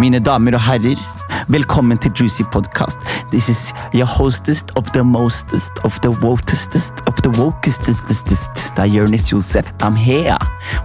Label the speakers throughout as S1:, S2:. S1: Mine damer og herrer, velkommen til Juicy Podcast. This is your hostest of the mostest of the wotestest of the wokestestest. Det er Jonis Josef Amhea.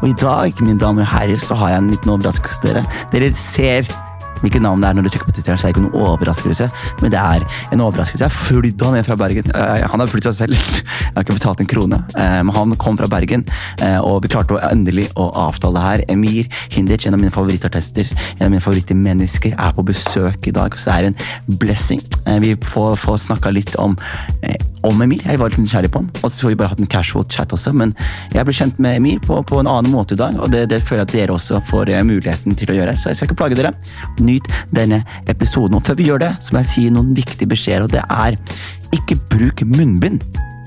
S1: Og i dag, mine damer og herrer, så har jeg en liten overraskelse til dere. Dere ser hvilket navn det er når du trykker på tittelen, så er det ikke noen overraskelse, men det er en overraskelse. Jeg flydde han ned fra Bergen. Eh, Han har flydd seg selv. Jeg har ikke betalt en krone, eh, men han kom fra Bergen, eh, og vi klarte å endelig å avtale det her. Emir Hindic, en av mine favorittartister, en av mine favorittmennesker, er på besøk i dag, så det er en blessing. Eh, Vi får, får snakka litt om eh, om Emir. Jeg var litt nysgjerrig på han. Og så får vi bare hatt en casual chat også, men jeg ble kjent med Emir på, på en annen måte i dag, og det, det føler jeg at dere også får eh, muligheten til å gjøre, så jeg skal ikke plage dere. Nyt denne episoden. Og før vi gjør det, så må jeg si noen viktige beskjeder, og det er ikke bruk munnbind.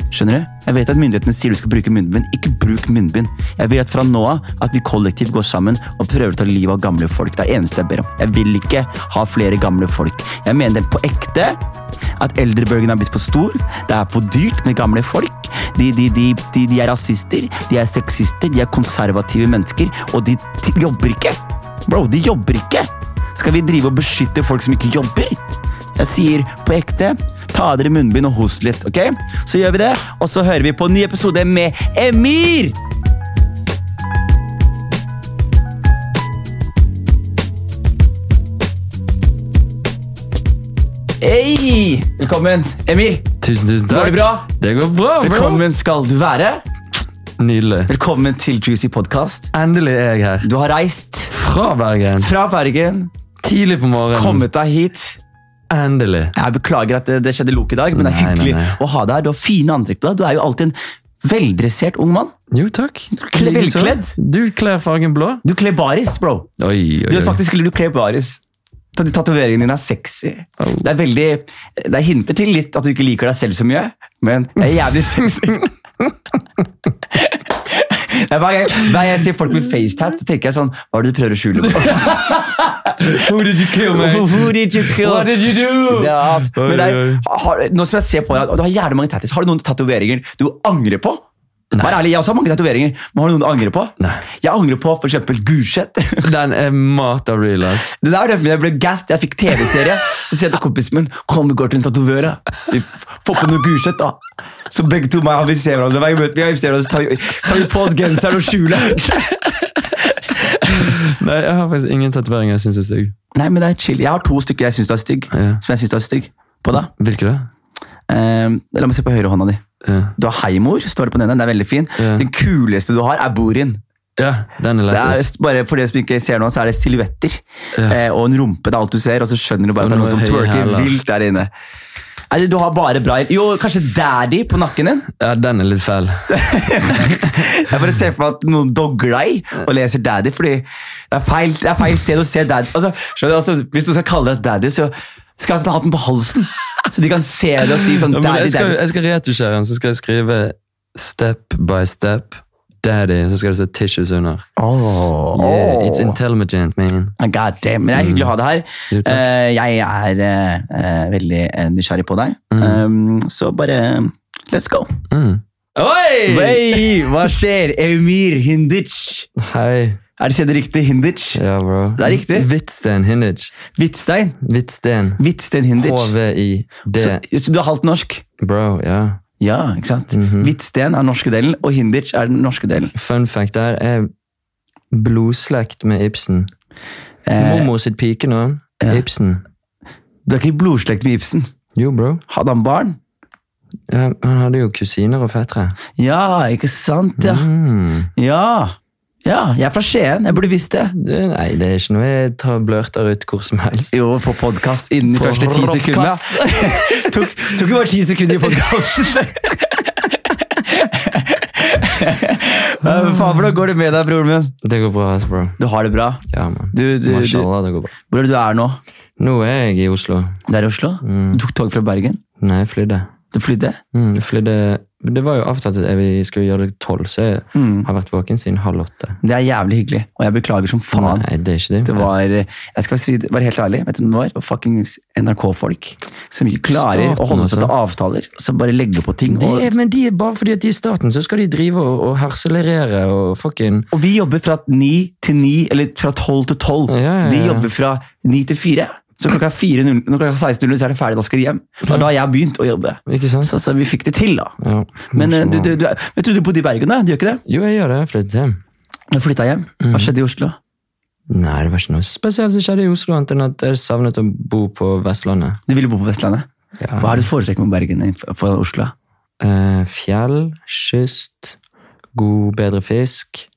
S1: Skjønner du? Jeg vet at myndighetene sier du skal bruke munnbind. Ikke bruk munnbind. Jeg vil at fra nå av at vi kollektivt går sammen og prøver å ta livet av gamle folk. Det er det eneste jeg ber om. Jeg vil ikke ha flere gamle folk. Jeg mener på ekte at eldrebølgen er blitt for stor. Det er for dyrt med gamle folk. De, de, de, de, de er rasister, de er sexister, de er konservative mennesker, og de, de jobber ikke. Bro, de jobber ikke. Skal vi drive og beskytte folk som ikke jobber? Jeg sier på ekte, ta av dere munnbind og host litt, ok? Så gjør vi det, og så hører vi på en ny episode med Emir! Hei! Velkommen, Emir.
S2: Tusen, tusen takk.
S1: Går det bra?
S2: Det går bra, bro.
S1: Velkommen skal du være.
S2: Nydelig.
S1: Velkommen til Juicy Podcast.
S2: Endelig er jeg her.
S1: Du har reist
S2: Fra Bergen.
S1: fra Bergen,
S2: Tidlig på morgenen.
S1: kommet deg hit.
S2: Endelig.
S1: Jeg beklager at det, det skjedde lok i dag, men det er
S2: Nei, nei,
S1: hyggelig
S2: nei.
S1: å ha deg her. Du har fine antrekk på deg. Du er jo alltid en veldressert ung mann.
S2: Jo, takk.
S1: Kle-
S2: Likeså.
S1: velkledd.
S2: Du kler fargen blå.
S1: Du kler baris, bro.
S2: Oi, oi,
S1: Du er
S2: oi.
S1: faktisk du kler baris. Ta- de Tatoveringene dine er sexy.
S2: Au.
S1: Det er veldig, det er hinter til litt at du ikke liker deg selv så mye, men det er jævlig sexy. Det er Hver gang, hver gang jeg ser folk med facetat, så tenker jeg sånn Hva er det du prøver å skjule? På?
S2: Who did you kill,
S1: Who did you kill?
S2: What did you do?
S1: Det er, altså,
S2: Oi,
S1: men det er,
S2: oi.
S1: har, nå som jeg ser på deg, og Du har jævlig mange tattis. Har du noen tatoveringer du angrer på? Vær ærlig, Jeg også har mange tatoveringer, men har du noen du angrer på?
S2: Nei.
S1: Jeg angrer på for eksempel Gulset.
S2: Den er mat av real, ass.
S1: Det der rømmer jeg ble gassed. Jeg fikk TV-serie. Så sier jeg til kompisen min Kom, vi går til en tatovør. da. Vi f- Få på noe Gulset, da. Så begge to meg, vi ser hverandre hver gang vi møter- vi ser hverandre, så tar vi, tar vi på oss genseren og skjuler.
S2: Nei, jeg har faktisk ingen tatoveringer jeg syns er stygg.
S1: Nei, men det er chill. Jeg har to stykker jeg syns er stygg.
S2: Ja.
S1: Som jeg synes er stygg på deg.
S2: Hvilke da?
S1: Ehm, la meg se på høyrehånda di.
S2: Ja.
S1: Du har Heimor, står det på den ene. Den er veldig fin.
S2: Ja.
S1: Den kuleste du har, er Borin.
S2: ja, den er
S1: Det er,
S2: lettest.
S1: bare for dere som ikke ser nå, så er det silhuetter
S2: Ja.
S1: eh, og en rumpe. Det er alt du ser, og så skjønner du bare at det er
S2: Og
S1: noen som
S2: noen høye
S1: twerker
S2: hæler.
S1: vilt der inne. Nei, du har bare bra Jo, kanskje daddy på nakken din?
S2: Ja, den er litt fæl.
S1: Jeg bare ser for meg at noen dogger deg og leser daddy, fordi det er feil, det er feil sted å se daddy. Altså, skjønner du, altså, hvis du skal kalle deg daddy, så skal du ha den på halsen. Så de kan se det og si sånn
S2: Ja, men
S1: daddy,
S2: jeg, skal,
S1: daddy.
S2: jeg skal retusjere den, så skal jeg skrive step by step. Daddy, så skal det se tissues under.
S1: Åh,
S2: Yeah, it's
S1: åh.
S2: intelligent, man.
S1: Ah, God damn. Men det er hyggelig å ha deg her.
S2: Mm. Jo, takk.
S1: Eh, jeg er eh, eh, veldig eh, nysgjerrig på deg. Um, så bare eh, let's go.
S2: Mm. Oi!
S1: Hey, hva skjer? Emir Hindic.
S2: Hei.
S1: Er det stedet riktig? Hindic?
S2: Ja, bro.
S1: Det er riktig.
S2: Hvitsten Hindic.
S1: Hvitstein?
S2: Hvitsten.
S1: Hvitstein Hindic.
S2: H-V-I-D.
S1: Så, så du er halvt norsk?
S2: Bro, ja.
S1: Ja, ikke sant?
S2: Mhm.
S1: Hvitsten er den norske delen, og Hindic er den norske delen.
S2: Fun fact der er blodslekt med Ibsen.
S1: Eh,
S2: Mormor sitt pikenavn
S1: ja.
S2: Ibsen.
S1: du er ikke i blodslekt med Ibsen.
S2: Jo, bro.
S1: Hadde han barn?
S2: Ja, han hadde jo kusiner og fettere.
S1: Ja, ikke sant? Ja.
S2: Mm.
S1: ja. Ja, jeg er fra Skien. Jeg burde visst det.
S2: Det, nei, det er ikke noe jeg tar blørter ut hvor som helst.
S1: Jo, på podkast innen de
S2: På
S1: første ti
S2: rockcast.
S1: sekundene. tok, tok jo bare ti sekunder i podkasten. Eh, Faen, hvordan går det med deg, broren min?
S2: Det går bra, ass, bro.
S1: Du har det bra?
S2: Ja, man.
S1: Du, du, du,
S2: Mashallah, det går bra.
S1: hvor er det du er nå?
S2: Nå er jeg i Oslo. Mm.
S1: Du er i Oslo? Du tok tog fra Bergen?
S2: Nei, jeg flydde.
S1: Du flydde?
S2: Mm, jeg flydde Det var jo avtalt at vi skulle gjøre det tolv, så jeg har vært våken siden halv åtte.
S1: Det er jævlig hyggelig, og jeg beklager som faen.
S2: Nei, det er ikke det.
S1: Det var, jeg skal si- være helt ærlig, vet du hvem det var? Det var fuckings NRK-folk. Som ikke klarer
S2: Staten,
S1: å holde seg til
S2: altså.
S1: avtaler, og så bare legge på ting.
S2: Det er,
S1: Og,
S2: men de er bare fordi at de er i staten, så skal de drive og, og herselerere og fucking
S1: og vi jobber fra ni til ni, eller fra tolv til tolv.
S2: Ja, ja, ja.
S1: De jobber fra ni til fire. Så klokka, 4.00 når klokka 16.00 så er det ferdig, da skal de hjem. Det
S2: Mm.
S1: var da jeg begynte å jobbe.
S2: Ikke sant?
S1: Så, så vi fikk det til, da.
S2: Ja.
S1: Men eh, du, du, du, er- vet du, du bodde i Bergen, da? Du gjør ikke det?
S2: Jo, jeg gjør det. eh, Jeg flyttet hjem.
S1: Du flytta hjem?
S2: Mm.
S1: Hva skjedde i Oslo?
S2: Nei, det var ikke noe spesielt som skjedde i Oslo, annet enn at jeg savnet å bo på Vestlandet.
S1: Du ville bo på Vestlandet?
S2: Ja.
S1: Hva er det du foretrekker med Bergen for Oslo?
S2: Eh, fjell, kyst, god, bedre fisk,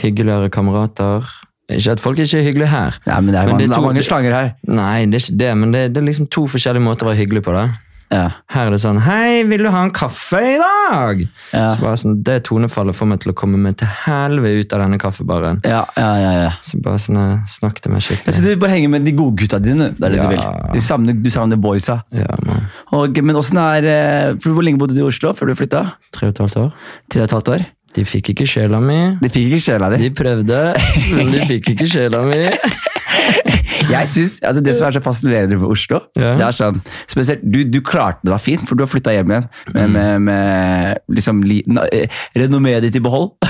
S2: hyggeligere kamerater. Ikke at folk ikke er hyggelige her.
S1: Ja, men det er,
S2: Men det
S1: det er
S2: tror-
S1: mange slanger her.
S2: Nei, det er ikke det, men det, det er liksom to forskjellige måter å være hyggelig på. da.
S1: Ja.
S2: Her er det sånn 'Hei, vil du ha en kaffe i dag?'
S1: Ja.
S2: Så bare sånn, Det tonefallet får meg til å komme meg til helvete ut av denne kaffebaren.
S1: Ja, ja, ja, ja.
S2: Så bare sånn, eh, Snakk til meg
S1: Jeg
S2: skikkelig.
S1: synes Du bare henger med de gode gutta dine. Det er det
S2: Ja.
S1: du vil. Du savner, du savner boysa.
S2: Ja, man.
S1: Og, men åssen er eh, for Hvor lenge bodde du i Oslo før du flytta?
S2: Tre og et halvt år.
S1: Tre og et halvt år?
S2: De fikk ikke sjela mi.
S1: Det fikk ikke sjela di.
S2: De prøvde, men de fikk ikke sjela mi.
S1: Jeg synes, altså Det som er så fascinerende med Oslo
S2: Ja.
S1: det er sånn, spesielt, du, du klarte deg fint, for du har flytta hjem igjen med, med, med liksom, li, na, eh, renommeet ditt i behold.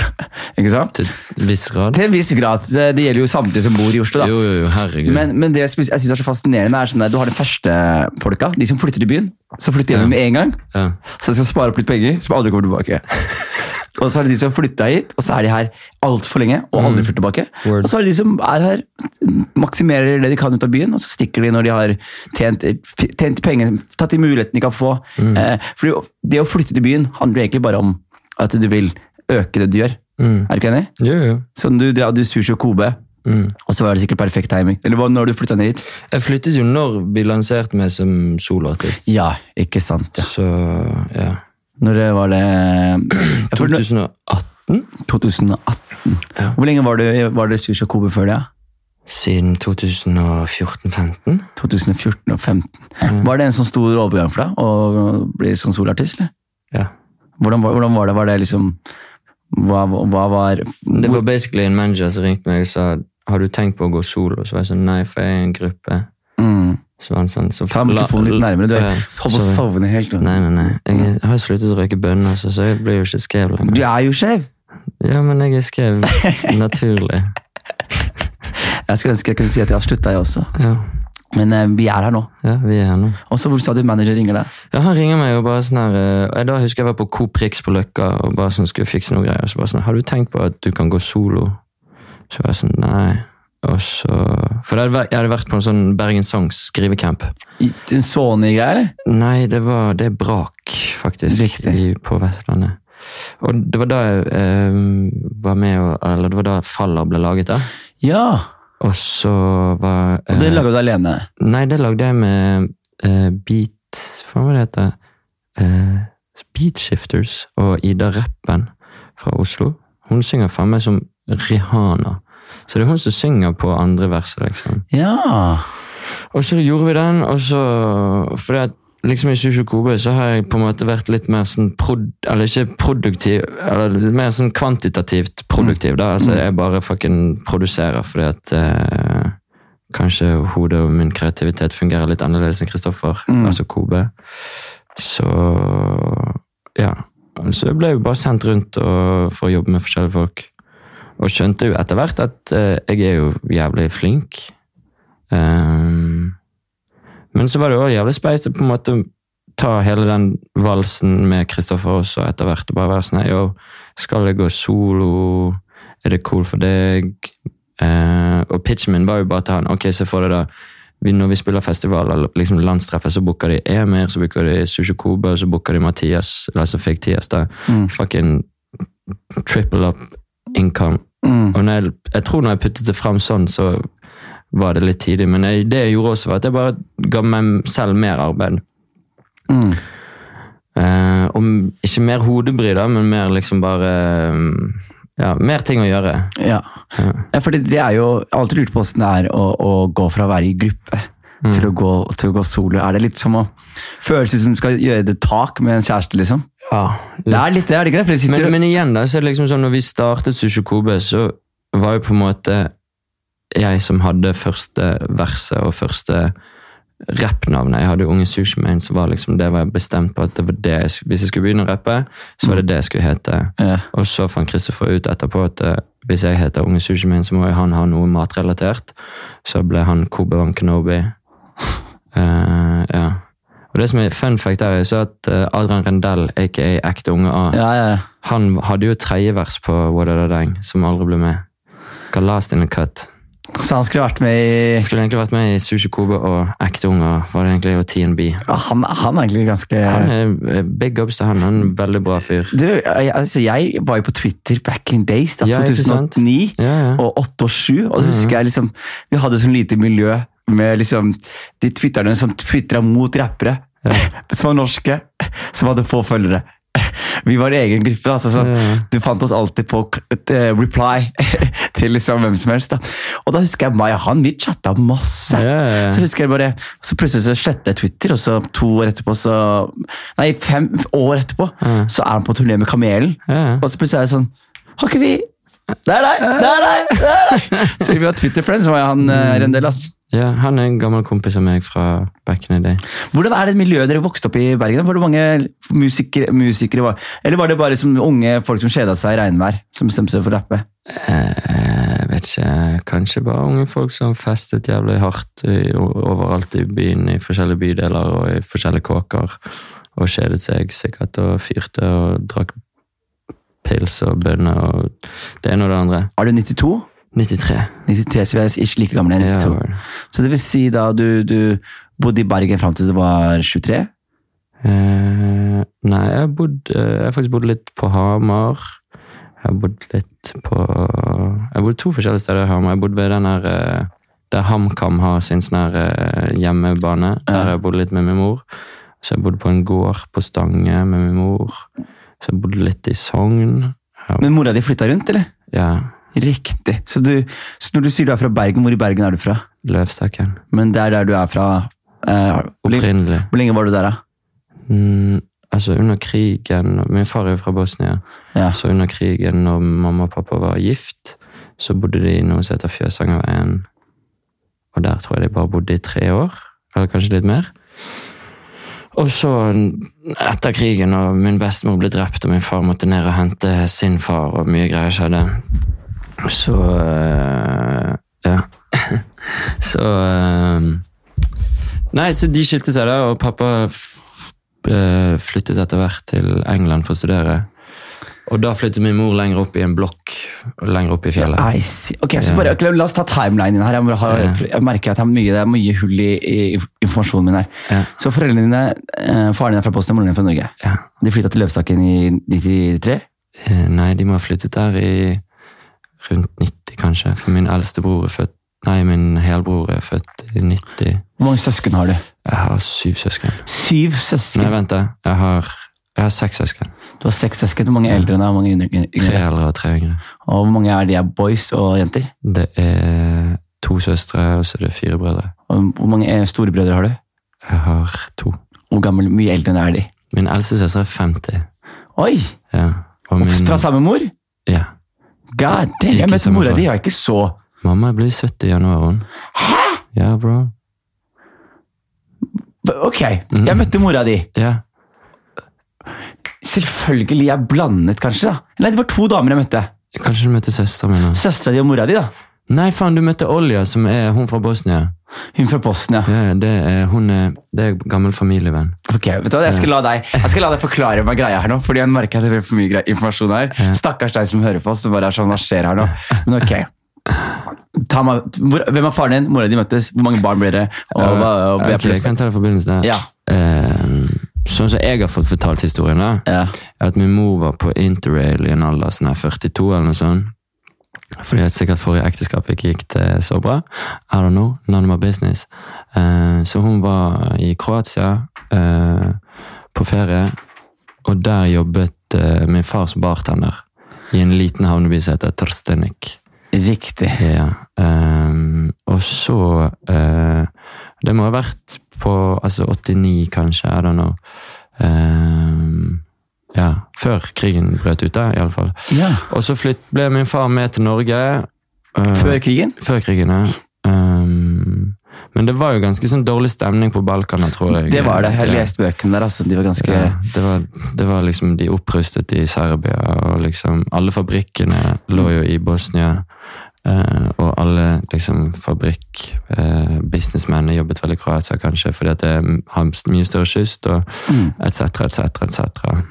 S1: ikke sant?
S2: Til en viss grad.
S1: Til en viss grad. Det, det gjelder jo samtlige som bor i Oslo. da.
S2: Jo, jo, jo, herregud.
S1: Men, men det jeg synes jeg synes er så fascinerende, er sånn der, du har de første folka, de som flytter til byen. Så flytter de hjem med en gang,
S2: ja.
S1: så de skal spare opp litt penger, som aldri kommer tilbake. og så er det de som flytta hit, og så er de her altfor lenge og aldri flytter tilbake.
S2: Word.
S1: Og så er det de som er her, maksimerer det de kan ut av byen, og så stikker de når de har tjent, tjent penger, tatt de mulighetene de kan få. Eh, fordi det å flytte til byen handler jo egentlig bare om at du vil øke det du gjør.
S2: Mm.
S1: Er du ikke enig?
S2: Jo, jo.
S1: Sånn du drar du sushi og Kobe,
S2: Mm.
S1: og så var det sikkert perfekt timing. Eller hva når du flytta ned hit?
S2: Jeg flyttet jo når vi lanserte meg som soloartist.
S1: Ja, ikke sant. Ja.
S2: Så ja.
S1: Når det var det jeg tror det-
S2: 2018?
S1: 2018.
S2: Ja.
S1: Hvor lenge var det, var det Sushi og Kobe før det?
S2: Siden 2014-15?
S1: 2014 og 2015.
S2: Mm.
S1: Var det en sånn stor overgang for deg å bli sånn solartist? eller?
S2: Ja.
S1: Hvordan, var- hvordan var det? Var det liksom Hva, hva var
S2: Det var basically en manager som ringte meg og sa har du tenkt på å gå solo. Så var jeg sånn nei, for jeg er i en gruppe.
S1: mm.
S2: Så var han sånn så,
S1: Ta mikrofonen litt nærmere. Du
S2: Ja,
S1: er- holdt på å
S2: sorry.
S1: sovne helt nå.
S2: Nei, nei, nei. Jeg har jo sluttet å røyke bønner, altså, så, så jeg blir jo ikke skrev lenger.
S1: Du er jo skjev!
S2: Ja, men jeg er skrev naturlig.
S1: Jeg skulle ønske jeg kunne si at jeg har slutta, jeg også.
S2: Ja.
S1: Men eh, vi er her nå.
S2: ja, vi er her nå.
S1: Og så hvor sa du manager ringer deg?
S2: Ja, han ringer meg og bare sånn her eh, og jeg Da husker jeg var på Coop Rix på Løkka og bare sånn skulle fikse noen greier. Så bare sånn, har du tenkt på at du kan gå solo? Så var jeg sånn, nei. Og så For jeg hadde, vært- jeg hadde vært på en sånn Bergen Songs skrivecamp.
S1: I- En Sony-greie, eller?
S2: Nei, det var det er brak, faktisk,
S1: Riktig.
S2: i, på Vestlandet. Og det var da jeg eh, var med og Eller det var da Faller ble laget, da.
S1: Ja!
S2: Og så var
S1: Og det
S2: eh,
S1: lager du alene?
S2: Nei, det lagde jeg med eh, Beat Hva var det hete? Eh, beat Shifters og Ida Reppen fra Oslo. Hun synger faen meg som Rihanna. Så det er hun som synger på andre verset, liksom.
S1: Ja!
S2: Og så gjorde vi den, og så Fordi at liksom i Sushi Kobe så har jeg på en måte vært litt mer sånn prod, Eller ikke produktiv, eller mer sånn kvantitativt produktiv, da. Altså jeg bare fucking produserer fordi at eh, Kanskje hodet og min kreativitet fungerer litt annerledes enn Kristoffer,
S1: Mm.
S2: altså Kobe. Så Ja. Så jeg ble jo bare sendt rundt og, for å jobbe med forskjellige folk. Og skjønte jo etter hvert at eh, jeg er jo jævlig flink. Ehm, men så var det jo også jævlig speis å på en måte ta hele den valsen med Kristoffer også etter hvert, og bare være sånn her, yo, skal jeg gå solo? Er det cool for deg? Eh, og pitchen min var jo bare til han, ok, se for deg da, vi, når vi spiller festival, eller liksom landstreffet, så booker de Emir, så booker de Sushi Kobe, så booker de Mathias, altså fake Tias da.
S1: Mm.
S2: Fucking triple up income.
S1: Mm.
S2: Og når jeg, jeg tror når jeg puttet det fram sånn, så var det litt tidlig. Men jeg, det jeg gjorde også, var at jeg bare ga meg selv mer arbeid.
S1: Mm.
S2: Eh, og m- ikke mer hodebry, da, men mer liksom bare eh, Ja, mer ting å gjøre.
S1: Ja.
S2: Ja.
S1: ja, for det, det er jo jeg har alltid lurt på hvordan det er å, å gå fra å være i gruppe
S2: Mm.
S1: til, å gå, til å gå solo. Er det litt som å føles ut som du skal gjøre det tak med en kjæreste, liksom?
S2: Ja,
S1: Det er litt det, er det ikke det? For det sitter
S2: Men, men igjen, da, så er det liksom sånn, når vi startet Sushi Kobe, så var jo på en måte jeg som hadde første verset og første rappnavnet. Jeg hadde jo Unge Sushi med en, så var liksom, det var jeg bestemt på at det var det jeg, sk- hvis jeg skulle begynne å rappe, så var det det jeg skulle hete.
S1: Ja.
S2: Og så fant Kristoffer ut etterpå at eh, hvis jeg heter Unge Sushi min, så må jo han ha noe matrelatert. Så ble han Kobe Van Kenobi. Eh, ja. Og det som er fun fact der, er så at eh, Adrian Rendell, aka Ekte Unge A,
S1: Ja, ja, ja.
S2: han hadde jo tredje vers på What Da Dang, som aldri ble med. Got last in the cut.
S1: Så han skulle vært med i
S2: Jeg skulle egentlig vært med i Sushi Kobe og Ekte Unge A, var det egentlig, og TNB.
S1: Ja, Ah, Han, han er egentlig ganske
S2: Han er eh, big ups til han, han er en veldig bra fyr.
S1: Du, jeg, altså, jeg var jo på Twitter back in days, da,
S2: Ja, ikke sant?
S1: 2009
S2: Ja, ja. Mhm.
S1: og 8 og 7, og da husker jeg liksom Vi hadde sånn lite miljø med liksom de twitterne som twitra mot rappere, som var norske, som hadde få følgere. Vi var i egen gruppe, da, så sånn,
S2: Ja.
S1: du fant oss alltid på k- et, eh, reply til liksom hvem som helst. Da. Og da husker jeg Maya han, vi chatta masse.
S2: Ja, ja, ja.
S1: Så husker jeg bare, så plutselig så sletter jeg Twitter, og så to år etterpå, så Nei, fem år etterpå, så er han på turné med Kamelen.
S2: Ja, ja.
S1: Og så plutselig er det sånn Har ikke vi Det er deg! Det er deg! Det er deg! Så vi var Twitter-friends, var jeg han eh,
S2: Mm.
S1: Rendell, ass.
S2: Ja, han er en gammel kompis av meg fra back in the day.
S1: Hvordan er det miljøet dere vokste opp i i Bergen? Var det mange musikere, musikere var? Eller var det bare som unge folk som kjeda seg i regnvær, som bestemte seg for å rappe?
S2: Eh, Jeg vet ikke, kanskje bare unge folk som festet jævlig hardt i, overalt i byen, i forskjellige bydeler og i forskjellige kåker, og kjedet seg sikkert og fyrte og drakk pils og bønner og det ene og det andre.
S1: Er du 92?
S2: 93.
S1: 93, så vi er ikke like gamle.
S2: Ja,
S1: 92.
S2: vel.
S1: Så det vil si da du, du bodde i Bergen fram til du var 23?
S2: Eh, nei, jeg har, bodd, eh, jeg har faktisk bodd litt på Hamar. Jeg har bodd litt på Jeg har bodd to forskjellige steder i Hamar. Jeg har bodd ved den her eh, der HamKam har sin sånn her eh, hjemmebane. Der har jeg bodd litt med min mor. Så jeg bodde på en gård på Stange med min mor. Så jeg bodde litt i Sogn.
S1: Men mora di flytta rundt, eller?
S2: Ja,
S1: Riktig. Så, du, så når du sier du er fra Bergen, hvor i Bergen er du fra?
S2: Løvstakken.
S1: Men det er der du er fra eh, hvor, lenge,
S2: Opprinnelig.
S1: hvor lenge var du der, da?
S2: Mm, altså, under krigen Min far er jo fra Bosnia.
S1: Ja.
S2: Så under krigen, når mamma og pappa var gift, så bodde de i noe som heter Fjøsangerveien. Og der tror jeg de bare bodde i tre år, eller kanskje litt mer. Og så, etter krigen, og min bestemor ble drept, og min far måtte ned og hente sin far, og mye greier skjedde, så øh, Ja. så øh, Nei, så de skilte seg, da, og pappa f- ble flyttet etter hvert til England for å studere. Og da flyttet min mor lenger opp i en blokk, og lenger opp i fjellet.
S1: I see. Ok, så bare, ok, La oss ta timelinen her. Jeg, må ha,
S2: Ja.
S1: jeg merker at det er mye, det er mye hull i, i informasjonen min her.
S2: Ja.
S1: Så foreldrene dine, eh, faren din er fra Bosnia, moren din er fra Norge.
S2: Ja.
S1: De flytta til Løvstakken i 93.
S2: Eh, Nei, de må ha flyttet der i rundt 90, kanskje. For min eldste bror er født Nei, min helbror er født i 90. Jeg
S1: Hvor mange søsken har du?
S2: har syv søsken.
S1: Syv
S2: Nei,
S1: søsken.
S2: vent, da. Jeg har, jeg har seks søsken.
S1: Du har seks søsken. Hvor mange eldre enn deg? Hvor mange yngre-
S2: Tre
S1: yngre?
S2: eldre og tre yngre.
S1: Og hvor mange er de er boys og jenter?
S2: Det er to søstre, og så er det fire brødre.
S1: Og hvor mange eh, storebrødre har du?
S2: Jeg har to.
S1: Hvor gammel, mye eldre enn deg er de?
S2: Min eldste søster er 50.
S1: Oi!
S2: Ja. Og min,
S1: Fra samme mor?
S2: ja.
S1: God damn,
S2: Ikke
S1: jeg møtte
S2: samme
S1: mora
S2: far.
S1: di, jeg er ikke så
S2: Mamma blir 70 i januar. hun. Ja, bro.
S1: Ok,
S2: Mm.
S1: jeg møtte mora di.
S2: Ja.
S1: Selvfølgelig, jeg blandet kanskje da. Nei, det var to damer jeg møtte.
S2: Kanskje du møter søsteren min nå?
S1: Søstera di og mora di, da.
S2: Nei, faen, du møtte Olja, som er hun fra Bosnia.
S1: Hun fra Bosnia.
S2: Ja, ja, det er, hun er, det er gammel familievenn.
S1: Ok, vet du hva, jeg skal, la deg, jeg skal la deg forklare meg greia her nå, fordi jeg merker at det blir for mye grei- informasjon her. Stakkars deg som hører på oss, som bare er sånn, hva skjer her nå? Men ok. Ta meg, hvor, hvem er faren din? Mora di møttes? Hvor mange barn blir det? Og, hva, og,
S2: Ok, jeg kan ta det i forbindelse der.
S1: Ja.
S2: Eh, sånn som jeg har fått fortalt historien, da,
S1: Ja.
S2: er at min mor var på interrail i en alder sånn her 42 eller noe sånt. Fordi at sikkert forrige ekteskap ikke gikk det så bra. I don't know, none of my business. Eh, så hun var i Kroatia eh, på ferie, og der jobbet eh, min far som bartender i en liten havneby som heter Trstenik.
S1: Riktig.
S2: Ja. ehm, og så eh, Det må ha vært på altså 89, kanskje. I don't know. Ehm, ja. Før krigen brøt ut, da, i alle fall.
S1: Ja.
S2: Og så flytt, ble min far med til Norge. eh,
S1: Før krigen?
S2: før krigen, ja. Ehm, men det var jo ganske sånn dårlig stemning på Balkan, tror jeg.
S1: Det var det. Jeg
S2: Ja.
S1: leste bøkene der, altså. De var ganske
S2: Ja, det, var, det var liksom de opprustet i Serbia, og liksom alle fabrikkene lå jo i Bosnia. eh, og alle liksom fabrikk, eh, businessmennene jobbet vel i Kroatia kanskje, fordi at det har mye større kyst, og
S1: Mm.
S2: et cetera, et cetera, et cetera.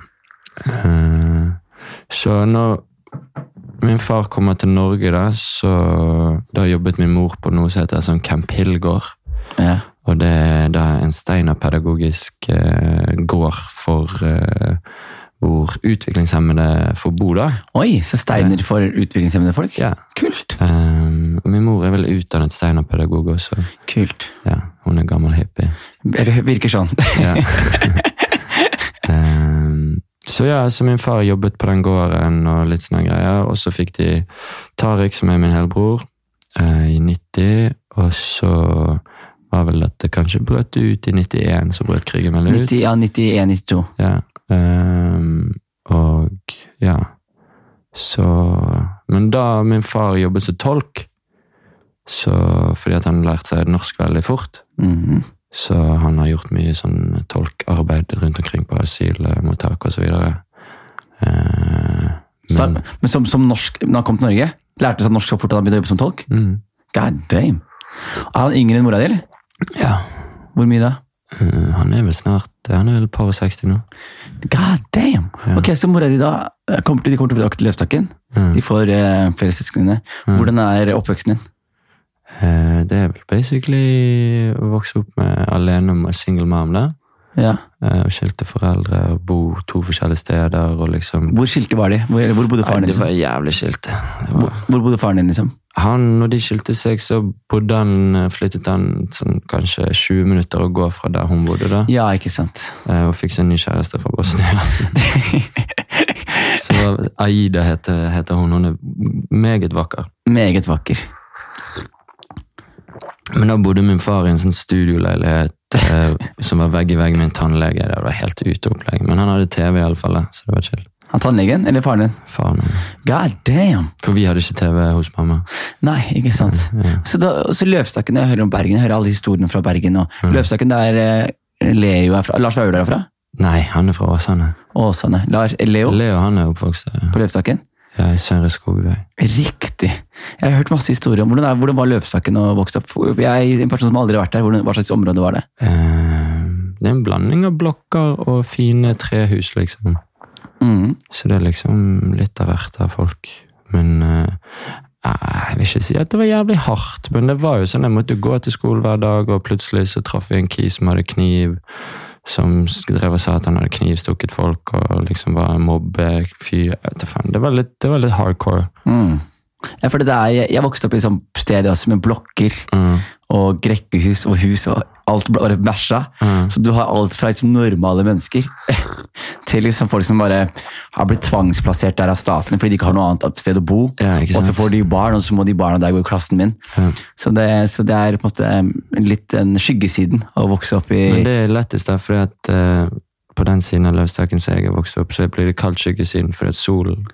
S2: Eh, så når min far kommer til Norge da, så da jobbet min mor på noe som heter sånn Camp Hillgård.
S1: Ja.
S2: Og det er da en steinerpedagogisk eh, gård for eh, hvor utviklingshemmede får bo, da.
S1: Oi, så steiner for utviklingshemmede folk?
S2: Ja.
S1: Kult.
S2: Ehm, og min mor er vel utdannet steinerpedagog også.
S1: Kult.
S2: Ja, hun er gammel hippie.
S1: Det virker sånn.
S2: Ja. Ehm, så ja, så min far jobbet på den gården og litt sånne greier. Og så fikk de Tariq, som er min helbror, eh, i 90. Og så var vel at det kanskje brøt ut i 91, så brøt krigen vel ut.
S1: 90, ja, 91, 92.
S2: Ja. ehm, og ja. Så Men da min far jobbet som tolk, så fordi at han lærte seg norsk veldig fort,
S1: Mhm.
S2: så han har gjort mye sånn tolkarbeid rundt omkring på asylmottak osv. Uh,
S1: Så, men som, som norsk, når han kom til Norge, lærte seg norsk så fort at han begynte å jobbe som tolk?
S2: mm,
S1: God damn. Er han yngre enn mora di, eller?
S2: ja.
S1: Hvor mye da?
S2: Eh, han er vel snart Han er vel et par og 60 nå.
S1: God damn!
S2: Ja.
S1: Ok, Så mora di da eh, kommer til, de kommer til å bli akte Løvstakken.
S2: Mm.
S1: De får eh, flere søsken dine. Hvordan er oppveksten din?
S2: Eh, det er vel basically å vokse opp med alene med single mom, da.
S1: Ja.
S2: Eh, og skilte foreldre og bo to forskjellige steder og liksom
S1: Hvor skilte var de? Hvor, eller hvor bodde faren
S2: Nei,
S1: din?
S2: det
S1: Liksom?
S2: var jævlig skilte. Det
S1: Hvor,
S2: var...
S1: hvor bodde faren din, liksom?
S2: Han, når de skilte seg, så bodde han, flyttet han sånn, kanskje 20 minutter å gå fra der hun bodde, da,
S1: Ja, ikke sant.
S2: eh, og fikk seg en ny kjæreste fra Bosnia. så Aida heter, heter hun. Hun er meget vakker.
S1: Meget vakker.
S2: Men da bodde min far i en sånn studioleilighet eh, som var vegg i vegg med en tannlege. Det var helt ute opplegg. Men han hadde TV, iallfall, så det var chill.
S1: Han tannlegen eller faren din?
S2: Faren, han-
S1: God damn!
S2: For vi hadde ikke TV hos mamma.
S1: Nei, ikke sant.
S2: Ja.
S1: Så, da, så Løvstakken, jeg hører om Bergen, jeg hører alle historiene fra Bergen. Og Løvstakken, der eh, Leo er fra. Lars Vaular er fra?
S2: Nei, han er fra Åsane.
S1: Åsane. Lars, eh, Leo
S2: Leo han er oppvokst der.
S1: på Løvstakken?
S2: Ja, i Søndre Skogvei.
S1: Riktig! Jeg har hørt masse historier om hvordan, er, hvordan var Løvstakken å vokse opp. Jeg er en person som aldri har vært der. Hvordan, hva slags område var det?
S2: Eh, Det er en blanding av blokker og fine trehus, liksom.
S1: Mm.
S2: Så det er liksom litt av hvert av folk. Men eh, eh, jeg vil ikke si at det var jævlig hardt, men det var jo sånn jeg måtte gå til skolen hver dag, og plutselig så traff vi en kis som hadde kniv, som drev og sa at han hadde knivstukket folk, og liksom var en mobbefyr. Jeg vet da faen, Det var litt, det var litt hardcore.
S1: Mm. Ja, for det der, jeg, jeg vokste opp i et sånt sted også, med blokker
S2: Mm,
S1: og rekkehus og hus og alt ble bare bæsja.
S2: mm.
S1: Så du har alt fra liksom normale mennesker til liksom folk som bare har blitt tvangsplassert der av staten fordi de ikke har noe annet sted å bo.
S2: Ja, ikke
S1: Og så
S2: sant?
S1: får de barn, og så må de barna der gå i klassen min.
S2: Ja.
S1: Så, det, så det er på en måte litt den skyggesiden av å vokse opp i
S2: Men det er lettest da, fordi at eh, på den siden av løvstakken som jeg har vokst opp, så blir det kaldt skyggesiden, fordi at solen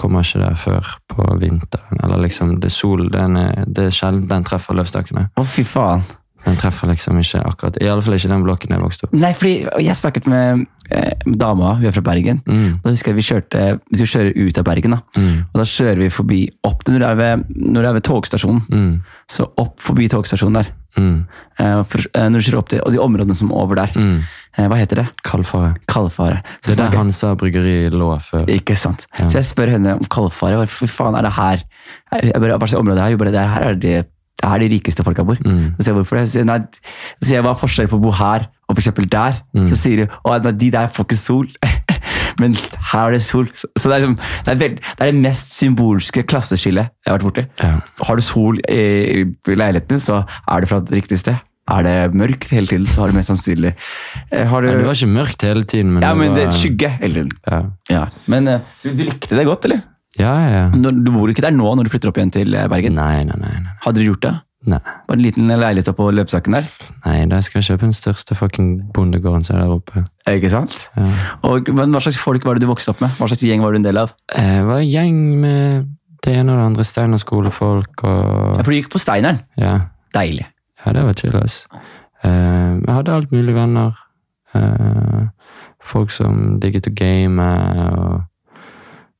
S2: kommer ikke der før på vinteren. Eller liksom, det er sol, den er, det er sjelden den treffer løvstakkene.
S1: Å, fy faen.
S2: Den treffer liksom ikke akkurat, i alle fall ikke den blokken jeg vokste opp.
S1: Nei, fordi jeg snakket med eh, dama, hun er fra Bergen.
S2: Mm,
S1: Da husker jeg vi kjørte, vi skulle kjøre ut av Bergen, da.
S2: mm,
S1: Og da kjører vi forbi opp til når det er ved, når det er ved togstasjonen.
S2: mm,
S1: Så opp forbi togstasjonen der.
S2: mm,
S1: Eh, for, eh, når du kjører opp til, og de områdene som er over der.
S2: mm.
S1: Eh, hva heter det?
S2: Kaldfare.
S1: Kaldfare. Så
S2: Det er der
S1: snakker-
S2: Hansa Bryggeri lå før.
S1: Ikke sant. Så jeg spør henne om kaldfare. hva- Hvor faen er det her? Jeg bare, hva slags område er det her? Jo, bare, det er her er de, det er her de rikeste folka bor.
S2: Mm.
S1: Så sier jeg hvorfor det? Så sier, hun, nei, så sier jeg hva er forskjellen på å bo her og for eksempel der?
S2: Mm.
S1: Så sier hun at de der får ikke sol. Mens her er det sol. Så så det er, liksom, det, er veld, det er det mest symbolske klasseskillet jeg har vært borti.
S2: Ja.
S1: Har du sol i, i leiligheten, så er det fra et riktig sted. Er det mørkt hele tiden, så har du mest sannsynlig eh, har du,
S2: Men det var ikke mørkt hele tiden, men,
S1: Ja, men det
S2: var...
S1: er skygge hele tiden.
S2: Ja,
S1: Ja, men eh, du, du likte det godt, eller?
S2: ja, ja. ja.
S1: Mm. Når, du bor jo ikke der nå når du flytter opp igjen til eh, Bergen.
S2: Nei, nei, nei, nei.
S1: Hadde du gjort det?
S2: Nei.
S1: Bare en liten leilighet oppå løpesaken der.
S2: Nei, da skal jeg kjøpe den største fucking bondegården som er der oppe.
S1: Ikke sant?
S2: Ja.
S1: Og, men hva slags folk var det du vokste opp med? Hva slags gjeng var du en del av?
S2: Jeg Eh, var en gjeng med det ene og det andre Steinerskolefolk
S1: Ja,
S2: og
S1: For du gikk på Steineren.
S2: ja.
S1: Deilig.
S2: ja, det var chill, ass. Eh, Jeg hadde alt mulig venner. Eh, Folk som digget å game. Og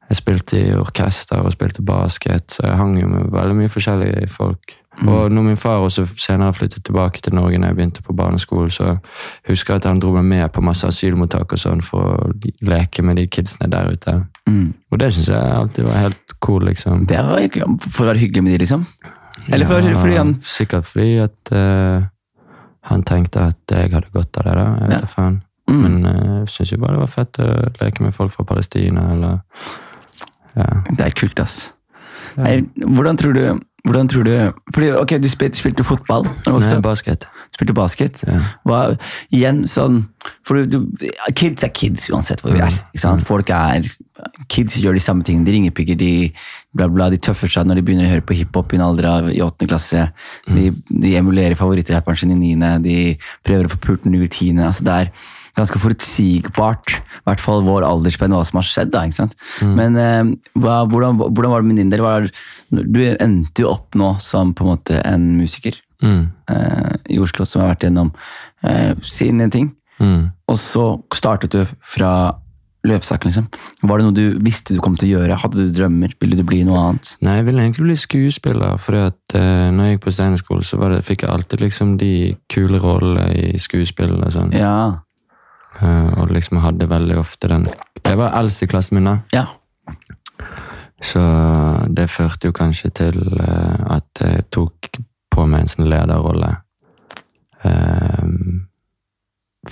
S2: jeg spilte i orkester og spilte basket, så jeg hang jo med veldig mye forskjellige folk. Og når min far også senere flyttet tilbake til Norge når jeg begynte på barneskolen, så husker jeg at han dro meg med på masse asylmottak og sånn for å leke med de kidsene der ute.
S1: Mm.
S2: Og det syns jeg alltid var helt cool, liksom.
S1: Det var ikke- for å være hyggelig med de, liksom. Eller for,
S2: Ja,
S1: fordi han
S2: Sikkert fordi at eh, han tenkte at jeg hadde godt av det, da. Jeg vet
S1: Ja.
S2: da faen.
S1: Mm.
S2: Men eh, jeg syns jo bare det var fett å leke med folk fra Palestina, eller Ja.
S1: Det er kult, ass. Nei, hvordan tror du hvordan tror du, fordi, ok, du spilte, spilte fotball da du vokste
S2: Nei,
S1: opp.
S2: basket.
S1: Spilte basket.
S2: Ja.
S1: Hva, igjen sånn for du, du, Kids er kids uansett hvor vi er. Ikke sant? Folk er Kids gjør de samme tingene. De ringepigger, de bla bla, de tøffer seg når de begynner å høre på hiphop i en alder av i åttende klasse. De, de emulerer favorittrapperen sin i niende. De prøver å få pult den ut i tiende. Altså, det er ganske forutsigbart, i hvert fall vår aldersspenn, hva som har skjedd. da, ikke sant? Men eh, hva, hvordan, hvordan var det med din del? Var, du endte jo opp nå som på en måte en musiker
S2: Mm.
S1: eh, i Oslo som har vært gjennom eh, sine ting.
S2: Mm.
S1: Og så startet du fra løpsaken, liksom. Var det noe du visste du kom til å gjøre? Hadde du drømmer? Ville du bli noe annet?
S2: Nei, jeg ville egentlig bli skuespiller, fordi at eh, når jeg gikk på Steinerskolen, så var det, fikk jeg alltid liksom de kule rollene i skuespill og sånn.
S1: Ja.
S2: Eh, og liksom hadde veldig ofte den Jeg var eldst i klassen min, da.
S1: ja.
S2: Så det førte jo kanskje til eh, at jeg tok på meg en sånn lederrolle. Ehm,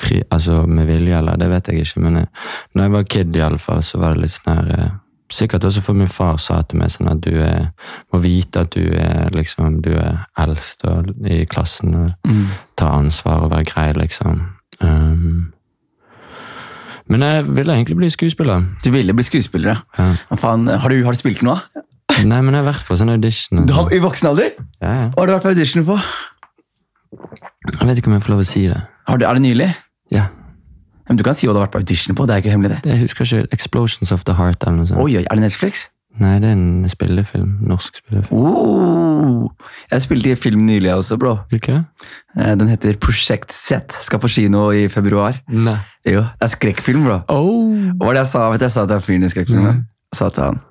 S2: fri, altså med vilje, eller det vet jeg ikke, men jeg, når jeg var kid iallfall, så var det litt sånn her eh, Sikkert også for min far sa til meg sånn at du er, må vite at du er liksom, du er eldst og, i klassen. og
S1: Mm.
S2: ta ansvar og være grei, liksom. Ehm, men jeg ville egentlig bli skuespiller.
S1: Du ville bli skuespiller, ja.
S2: Ja.
S1: Men Faen, har, du, har du spilt noe? da?
S2: Nei, men jeg har vært på sånn audition. og
S1: Du har,
S2: sånn.
S1: I voksen alder?
S2: Ja, ja.
S1: Hva har du vært på audition på?
S2: Jeg vet ikke om jeg får lov å si det.
S1: Har du, er det nylig?
S2: Ja,
S1: Men du kan si hva du har vært på audition på, det er ikke hemmelig, det.
S2: det, Jeg husker ikke Explosions of the Heart eller noe sånt.
S1: Oi, oi, er det Netflix?
S2: Nei, det er en spillefilm. Norsk spillefilm.
S1: Oh, jeg spilte i film nylig også, bro.
S2: Hvilken det?
S1: Eh, Den heter Prosjekt Z. Skal på kino i februar.
S2: Nei.
S1: Jo, det er skrekkfilm, bro.
S2: Oh.
S1: Hva var det jeg sa? Vet du, jeg sa til han fyren i skrekkfilmen. Jeg sa til han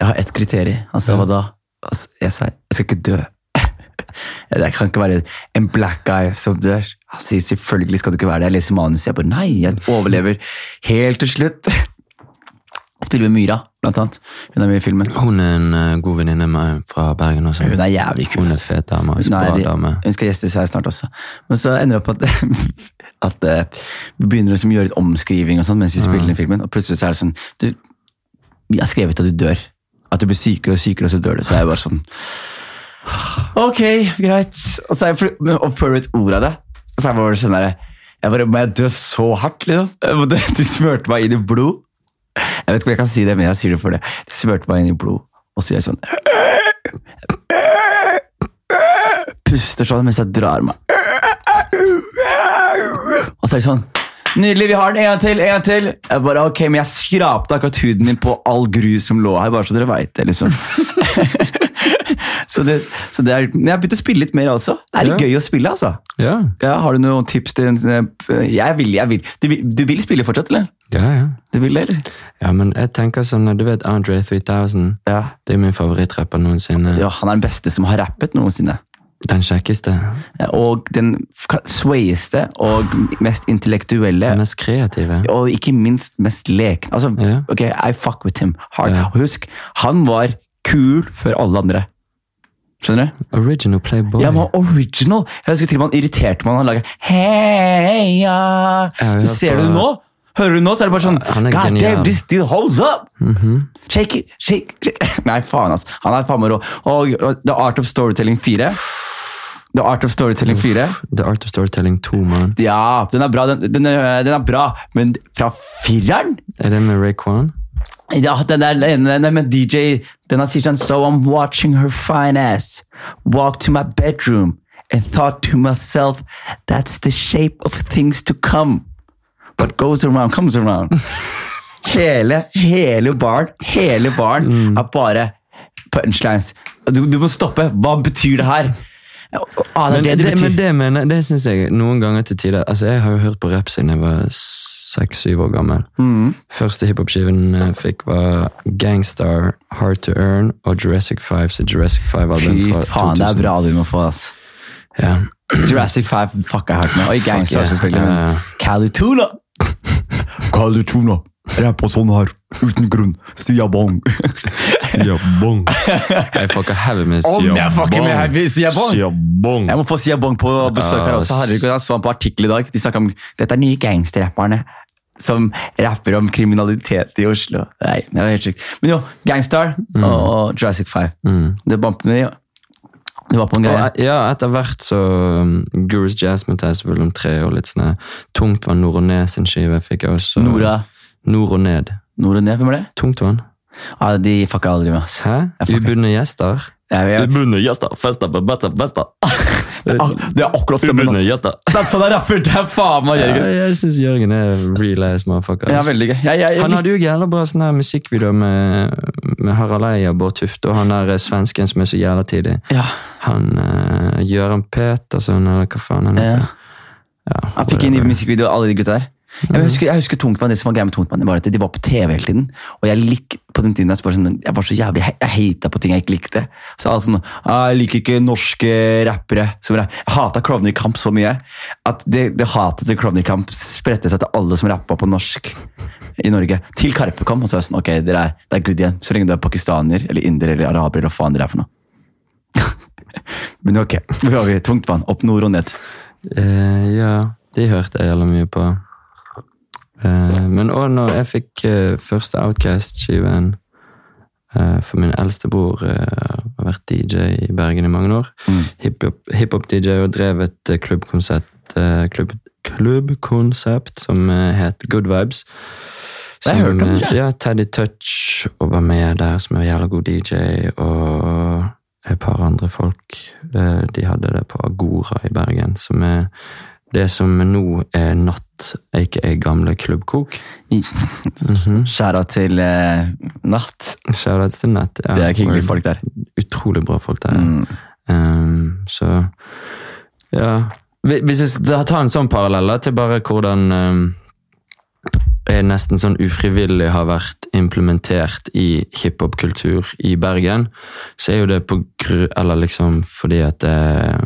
S1: Jeg har ett kriterium. Han sa
S2: Ja.
S1: hva da? Han s- Jeg sa jeg skal ikke dø. Det kan ikke være en black guy som dør. Han sier selvfølgelig skal du ikke være det. Jeg leser manuset. Jeg bare nei, jeg overlever helt til slutt. Jeg spiller med Myra, blant annet. Hun er med i filmen.
S2: Hun er en eh, god venninne av meg fra Bergen også.
S1: Hun er jævlig kul.
S2: Hun er
S1: ass.
S2: fet dame. og
S1: Hun er-
S2: Bra dame.
S1: Hun skal gjeste seg snart også. Men så ender det opp at, at eh, vi begynner liksom å gjøre litt omskriving og sånn mens vi spiller inn filmen, og plutselig så er det sånn du, Vi har skrevet at du dør. At du blir sykere og sykere, og så dør du. Så er jeg bare sånn Ok, greit. Og, så er jeg, pl- men- og før du vet ordet av det, så er jeg bare sånn der jeg bare, Må jeg dø så hardt, liksom? Jeg må dø. De smurte meg inn i blod. Jeg vet ikke om jeg kan si det, men jeg sier det for det. De smurte meg inn i blod, og så gjør jeg sånn puster sånn mens jeg drar meg. Og så er det sånn Nydelig, vi har den en gang til, en gang til. Jeg bare, ok, Men jeg skrapte akkurat huden min på all grus som lå her, bare så dere veit det. liksom. så det, så det er, men jeg har begynt å spille litt mer også. Det er litt
S2: Ja.
S1: gøy å spille, altså.
S2: Ja,
S1: Ja, har du noen tips til en- eh, Jeg vil, jeg vil. Du, vil- du vil spille fortsatt, eller?
S2: ja, ja.
S1: Du vil det, eller?
S2: Ja, men jeg tenker sånn, du vet Andre 3000?
S1: Ja.
S2: Det er min favorittrapper noensinne.
S1: ja. Han er den beste som har rappet noensinne.
S2: Den kjekkeste.
S1: Og den f- swayeste og mest intellektuelle
S2: Den mest kreative.
S1: og ikke minst mest leken. Altså,
S2: Ja.
S1: ok, I fuck with him hard.
S2: Ja.
S1: Og husk, han var kul før alle andre. Skjønner du?
S2: Original Playboy.
S1: Ja, han var original. Jeg husker til og med han irriterte meg. Han laget heia.
S2: Ja, ja,
S1: Så ser du det
S2: på-
S1: nå? Hører du nå, så er det bare sånn
S2: Han er
S1: God damn,
S2: genial." Mhm.
S1: this still holds up! Shake it, shake, shake. Nei, faen, altså. Han er faen meg rå. Og og The Art of Storytelling 4. The Art of Storytelling 4.
S2: The Art of Storytelling 2, mann.
S1: Ja, den er bra, den, den, er, den er bra. Men fra fireren?
S2: Er det med Ray Kwan?
S1: Ja, den der ene den med DJ Den her sier sånn So I'm watching her fine ass walk to my bedroom and thought to myself That's the shape of things to come. But goes around, comes around. Hele, hele baren, hele baren
S2: Mm.
S1: er bare punchlines. Du, du må stoppe. Hva betyr det her? Ah, det
S2: Men
S1: er det det betyr.
S2: men det mener Det syns jeg noen ganger til tider Altså, jeg har jo hørt på rap siden jeg var seks-syv år gammel.
S1: Mm.
S2: Første hiphop-skiven jeg fikk, var Gangstar, Hard To Earn og Jurassic 5. Så Jurassic 5-album
S1: Fy
S2: fra 2000.
S1: faen, det er bra du må få, ass.
S2: Ja.
S1: Jurassic 5 fucker jeg hardt med. Og i Gangstar,
S2: yeah.
S1: selvfølgelig.
S2: Ja, ja.
S1: Men Calituna!
S3: Kalituna. Rapper sånn her, uten grunn. Sia bong. Sia bong.
S2: Jeg fucker heavy med
S1: Om
S2: Sia
S1: jeg fucker med
S2: Bong.
S1: heavy Sia Bong!
S2: Sia Bong.
S1: Jeg må få Sia Bong på besøk her også. Herregud, jeg så han på artikkel i dag. De snakket om dette er nye gangsterrapperne som rapper om kriminalitet i Oslo. Nei, det var helt sykt. Men jo, Gangstar
S2: Mm.
S1: og Jurassic 5. Det bumpet med de. Det var på en
S2: Og,
S1: greie.
S2: eh, ja, etter hvert så um, Gurus Jasmine tar jeg selvfølgelig om tre og litt sånn sånne Tungtvann Noroné sin skive fikk jeg også.
S1: Nora
S2: Nord og ned.
S1: Nora Ned, hvem var det?
S2: Tungtvann.
S1: Ja, de fucka aldri med, ass.
S2: Hæ?
S1: Jeg fucker.
S2: Ubundne gjester.
S1: Jeg, jeg,
S2: Ubundne gjester, fester på beste beste.
S1: ah, det er akkurat stemmen. da.
S2: gjester.
S1: Det er sånn jeg rapper! Det er faen meg
S2: Ja,
S1: Jørgen.
S2: jeg syns Jørgen er real ass motherfucker.
S1: Ja,
S2: ass.
S1: veldig gøy. Jeg, jeg, jeg,
S2: Han hadde jo jævla bra sånn her musikkvideo med, med Harald Eia, Bård Tufte og han der eh, svensken som er så jævla tidlig.
S1: ja,
S2: Han uh, Gøran Petersen, eller hva faen han
S1: ja.
S2: heter. Ja,
S1: Han fikk inn i musikkvideoen alle de gutta der. Jeg husker, jeg husker Tungtvann, det som var greia med Tungtvann, var at de var på TV hele tiden. Og jeg lik, på den tiden jeg, var sånn, jeg var så jævlig Jeg hata på ting jeg ikke likte. Så alle sånn «Ah, Jeg liker ikke norske rappere. Som rapp. Jeg hata Klovner i Kamp så mye at det, det hatet til Klovner i Kamp spredte seg til alle som rappa på norsk i Norge. Til Karpe kom, og så var jeg sånn Ok, dere er, det er good igjen. Så lenge du er pakistaner eller inder eller araber eller hva faen dere er for noe. Men ok, nå har vi Tungtvann. Opp nord og ned.
S2: Eh, ja, de hørte jeg jævla mye på. Eh, men òg når jeg fikk eh, første Outcast-skiven eh, For min eldste bror eh, har vært DJ i Bergen i mange år.
S1: Mm.
S2: Hiphop- Hiphop-DJ og drev et eh, klubbkonsept eh, klubb, klubbkonsept som eh, het Good Vibes.
S1: Det har jeg
S2: Som,
S1: hørt om, tror jeg.
S2: eh, Ja, Teddy Touch og var med der, som er en jævla god DJ, og et par andre folk. Eh, De hadde det på Agora i Bergen, som er det som nå er Natt, aka Gamle Klubbkok. Mhm.
S1: Skjæra til eh, natt.
S2: Shoutouts til Nett. Ja,
S1: Det er hyggelige
S2: hvor-
S1: folk der.
S2: Utrolig bra folk der.
S1: Mm.
S2: Ehm, så Ja. Hvi- Hvis jeg skal ta en sånn parallell da, til bare hvordan ehm, jeg nesten sånn ufrivillig har vært implementert i hiphop-kultur i Bergen, så er jo det på gru... Eller liksom fordi at eh,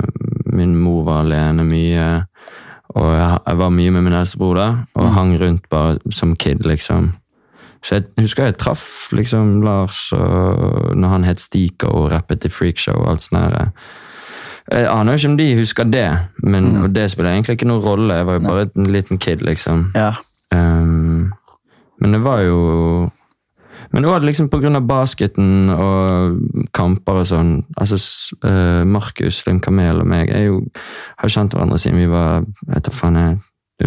S2: min mor var alene mye, og jeg, jeg var mye med min eldste bror da, og hang rundt bare som kid, liksom. Så jeg husker jeg traff liksom Lars og, når han het Stiker og rappet i Freakshow og alt sånt der. Jeg aner jo ikke om de husker det, men, og det spiller egentlig ikke noen rolle. Jeg var jo bare en liten kid, liksom.
S1: Ja.
S2: Ehm, men det var jo Men det var liksom på grunn av basketen og kamper og sånn. Altså, s- eh, Markus, Slim Kamel og meg er jo, har kjent hverandre siden vi var jeg vet da faen jeg,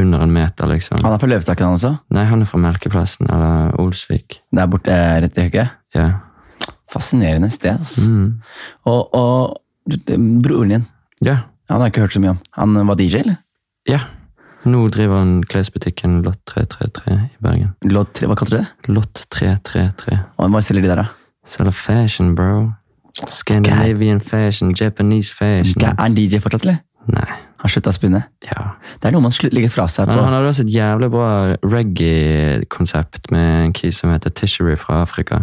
S2: under en meter, liksom.
S1: Han er fra Løvestakken, han også.
S2: Nei, han er fra Melkeplassen, eller Olsvik.
S1: Der borte eh, rett i høyre.
S2: Ja.
S1: Fascinerende sted, altså.
S2: Mm.
S1: Og, og du- du- broren din,
S2: ja.
S1: han har jeg ikke hørt så mye om. Han var DJ, eller?
S2: Ja. Nå driver han klesbutikken Lott 333 i Bergen.
S1: Låt tre, hva kalte du det?
S2: Lott 333.
S1: Og Hva selger de der, da?
S2: Selger fashion, bro. Scandinavian fashion, Japanese fashion.
S1: Er han DJ fortsatt, eller?
S2: Nei.
S1: Han slutta å spinne.
S2: Ja.
S1: Det er noe man slu- legger fra seg på.
S2: Men han hadde også et jævlig bra reggae-konsept med en key som heter Tishery fra Afrika,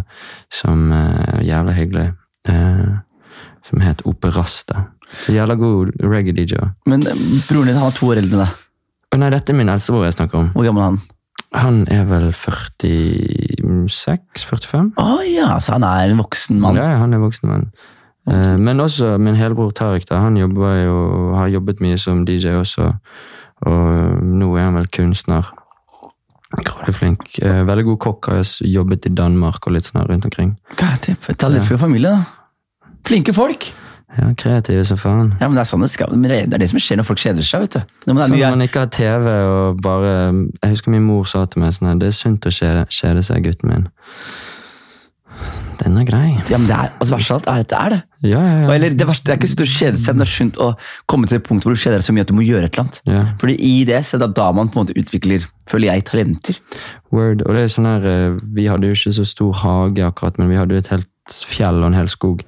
S2: som eh, er jævla hyggelig. Eh, som het Operasta. Så jævla god reggae-DJ. Å
S1: Men eh, broren din han var to år eldre enn deg.
S2: nei, dette er min eldstebror jeg snakker om.
S1: Hvor gammel er han?
S2: Han er vel 46-45?
S1: Å ja, så han er en voksen mann.
S2: Ja, ja, han er voksen mann. Eh, Men også min helbror Tariq, da, han jobber jo, har jobbet mye som DJ også. Og nå er han vel kunstner. Grådig flink. Eh, Veldig god kokk, har s- jobbet i Danmark og litt sånn her rundt omkring.
S1: Hva er det? Ta litt fra familie, da. Flinke folk!
S2: Ja, kreative som faen.
S1: Ja, men Det er sånn det skal, men det er det som skjer når folk kjeder seg. vet du. Når man er
S2: Som
S1: mye-
S2: når man ikke har TV og bare Jeg husker min mor sa til meg sånn her, Det er sunt å kjede, kjede seg, gutten min. Den er grei.
S1: ja, men det er, altså, verst av alt er at det er det.
S2: Ja, ja,
S1: Og,
S2: ja.
S1: eller, det, verste, det er ikke sunt å kjede seg, men det er sunt å komme til det punktet hvor du kjeder deg så mye at du må gjøre et eller annet.
S2: ja.
S1: Fordi i det så er det da man på en måte utvikler, føler jeg, talenter.
S2: Word. Og det er sånn her eh, Vi hadde jo ikke så stor hage akkurat, men vi hadde jo et helt fjell og en hel skog.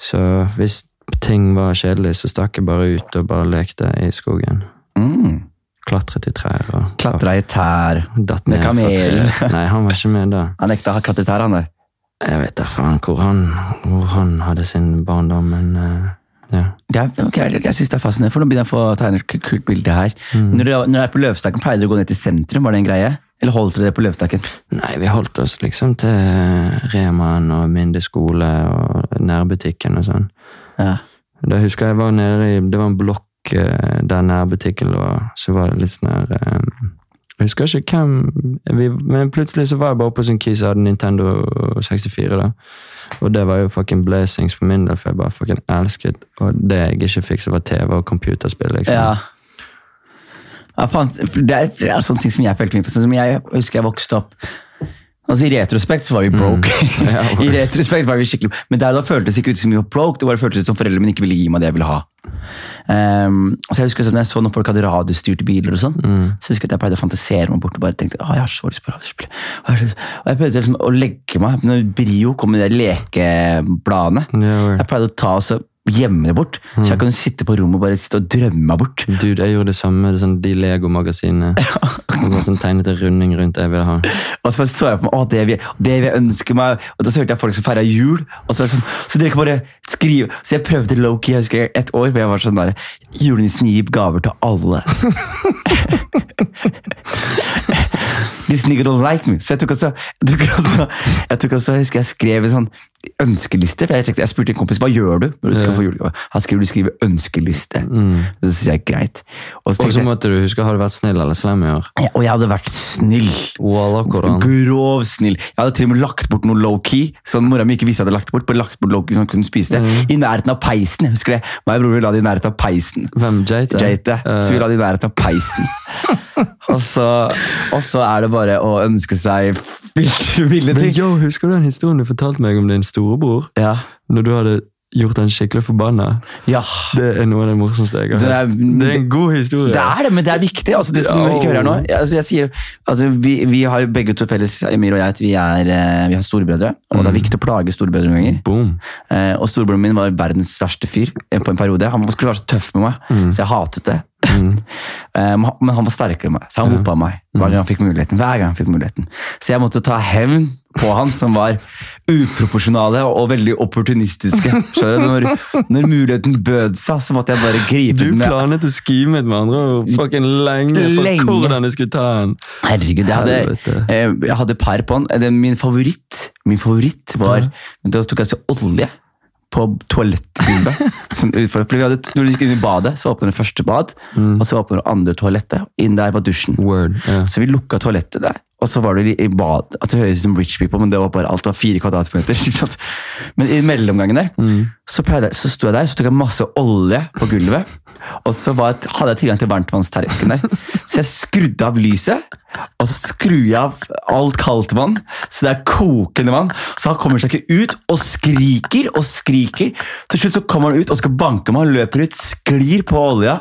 S2: Så hvis ting var kjedelig, så stakk jeg bare ut og bare lekte i skogen.
S1: Mm.
S2: Klatret i trær og
S1: Klatra i tær.
S2: datt
S1: Med
S2: ned fra
S1: kamelen.
S2: treet. Nei, han var ikke med da.
S1: Han nekta å ha klatret i tær, han der.
S2: Jeg vet da faen hvor han, hvor han hadde sin barndom, men eh, ja.
S1: Ja, ok, jeg, jeg synes det er fascinerende, for nå begynner jeg å få tegne et kult bilde her. Når, dere, når dere er på Løvstakken, pleier dere å gå ned til sentrum, var det en greie? Eller holdt dere det på Løvstakken?
S2: Nei, vi holdt oss liksom til Remaen og Minde skole og nærbutikken og sånn.
S1: Ja.
S2: Da husker jeg var nede i, det var en blokk eh, der nærbutikken lå, så var det litt sånn her eh, Jeg husker ikke hvem vi, Men plutselig så var jeg bare oppe hos en kis som hadde Nintendo 64, da. Og det var jo fucking blessings for min del, for jeg bare fucking elsket Og det jeg ikke fikk, så var TV og computerspill, liksom.
S1: Ja. ja faen, for det, er, det er sånne ting som jeg følte mye på. Sånn som jeg husker jeg vokste opp Altså I retrospekt så var vi broke.
S2: Mm. Ja,
S1: I retrospekt var vi skikkelig Men der og da føltes det ikke ut som vi var broke, det bare føltes ut som foreldrene mine ikke ville gi meg det jeg ville ha. Um, og så jeg husker sånn, når jeg så når folk hadde radiostyrte biler, og sånn
S2: Mm.
S1: så husker jeg at jeg pleide å fantasere meg bort og bare tenkte «Å, jeg har så lyst på radiospill. Å, jeg har så lyst- Og jeg pleide liksom å legge meg Når Brio kom med de der lekebladene,
S2: Ja, vel.
S1: jeg pleide å ta og så gjemme det bort. Så jeg kunne sitte på rommet og bare sitte og drømme meg bort.
S2: Dude, jeg gjorde det samme med sånn, de Lego-magasinene. Og bare sånn tegnet en runding rundt jeg ville ha.
S1: Og så bare så jeg på meg, å, det vil jeg- det vil jeg ønske meg. Og da så hørte jeg folk som feira jul. Og så var det sånn, så dere kan bare skrive. Så jeg prøvde low-key jeg husker et år, hvor jeg var sånn der Julenissen gir gaver til alle. This nigga don't like me. Så jeg tok også, jeg tok også, jeg tok også jeg husker jeg skrev en sånn ønskeliste. For jeg, tenkte, jeg spurte en kompis hva gjør du når du skal få julegave. Han skriver du skriver ønskeliste. Så sier jeg greit. Mm. Og så
S2: Og så
S1: tenkte jeg,
S2: måtte du huske, har du vært snill eller slem i år?
S1: og jeg hadde vært snill.
S2: Wallah, hvordan?
S1: Grov snill. Jeg hadde til og med lagt bort noe low-key. Sånn mora mi ikke visste jeg hadde lagt bort, bare lagt bort low-key så hun kunne spise det. I nærheten av peisen. jeg Husker det? Meg og broren min la det i nærheten av peisen.
S2: Hvem, Eh, Jate?
S1: Jate. Så vi la det i nærheten av peisen. og, så, og så er det bare å ønske seg ville ville
S2: Men
S1: ting.
S2: yo, husker du den historien du fortalte meg om din storebror?
S1: Ja.
S2: Når du hadde gjort den skikkelig forbanna?
S1: ja.
S2: Det er noe av det morsomste jeg har
S1: Det
S2: hørt.
S1: er-
S2: Det er en god historie.
S1: Det er det, men det er viktig. Altså, det som vi ikke hører her nå. Altså, jeg sier, altså, vi, vi har jo begge to felles, Emir og jeg, at vi, er, eh, vi har storebrødre. Og det er viktig å plage storebrødre noen ganger.
S2: Boom.
S1: Eh, og storebroren min var verdens verste fyr eh, på en periode. Han skulle være så tøff med meg, så jeg hatet det. Eh, men han- men han var sterkere enn meg, så han hoppa meg hver gang han fikk muligheten. hver gang han fikk muligheten. Så jeg måtte ta hevn på han, som var uproporsjonale og veldig opportunistiske. Skjønner du? Når, når muligheten bød seg, så måtte jeg bare gripe
S2: Du
S1: den. med-
S2: planet å skime med andre ord fucking lenge på
S1: Lenge.
S2: hvordan jeg skulle ta den.
S1: Herregud, jeg hadde,
S2: Helvete.
S1: eh, jeg hadde par på han. Den, min favoritt min favoritt var Da tok jeg så olje på toalettgulvet. som utfor- fordi vi hadde, når du gikk inn i badet, så åpner det første bad, og så åpner det andre toalettet. Inn der var dusjen.
S2: Mm. Word. Ja.
S1: Så vi lukka toalettet der, og så var det i bad. Altså, det høres ut som rich people, men det var bare alt var fire kvadratmeter. ikke sant? Men i mellomgangen der, så, pleide, jeg- så sto jeg der, så tok jeg masse olje på gulvet, og så var, hadde jeg tilgang til varmtvannsterken der. Så jeg skrudde av lyset, og så skrur jeg av alt kaldt vann, så det er kokende vann. Så han kommer seg ikke ut, og skriker og skriker. Til slutt så kommer han ut og skal banke meg, han løper ut, sklir på olja.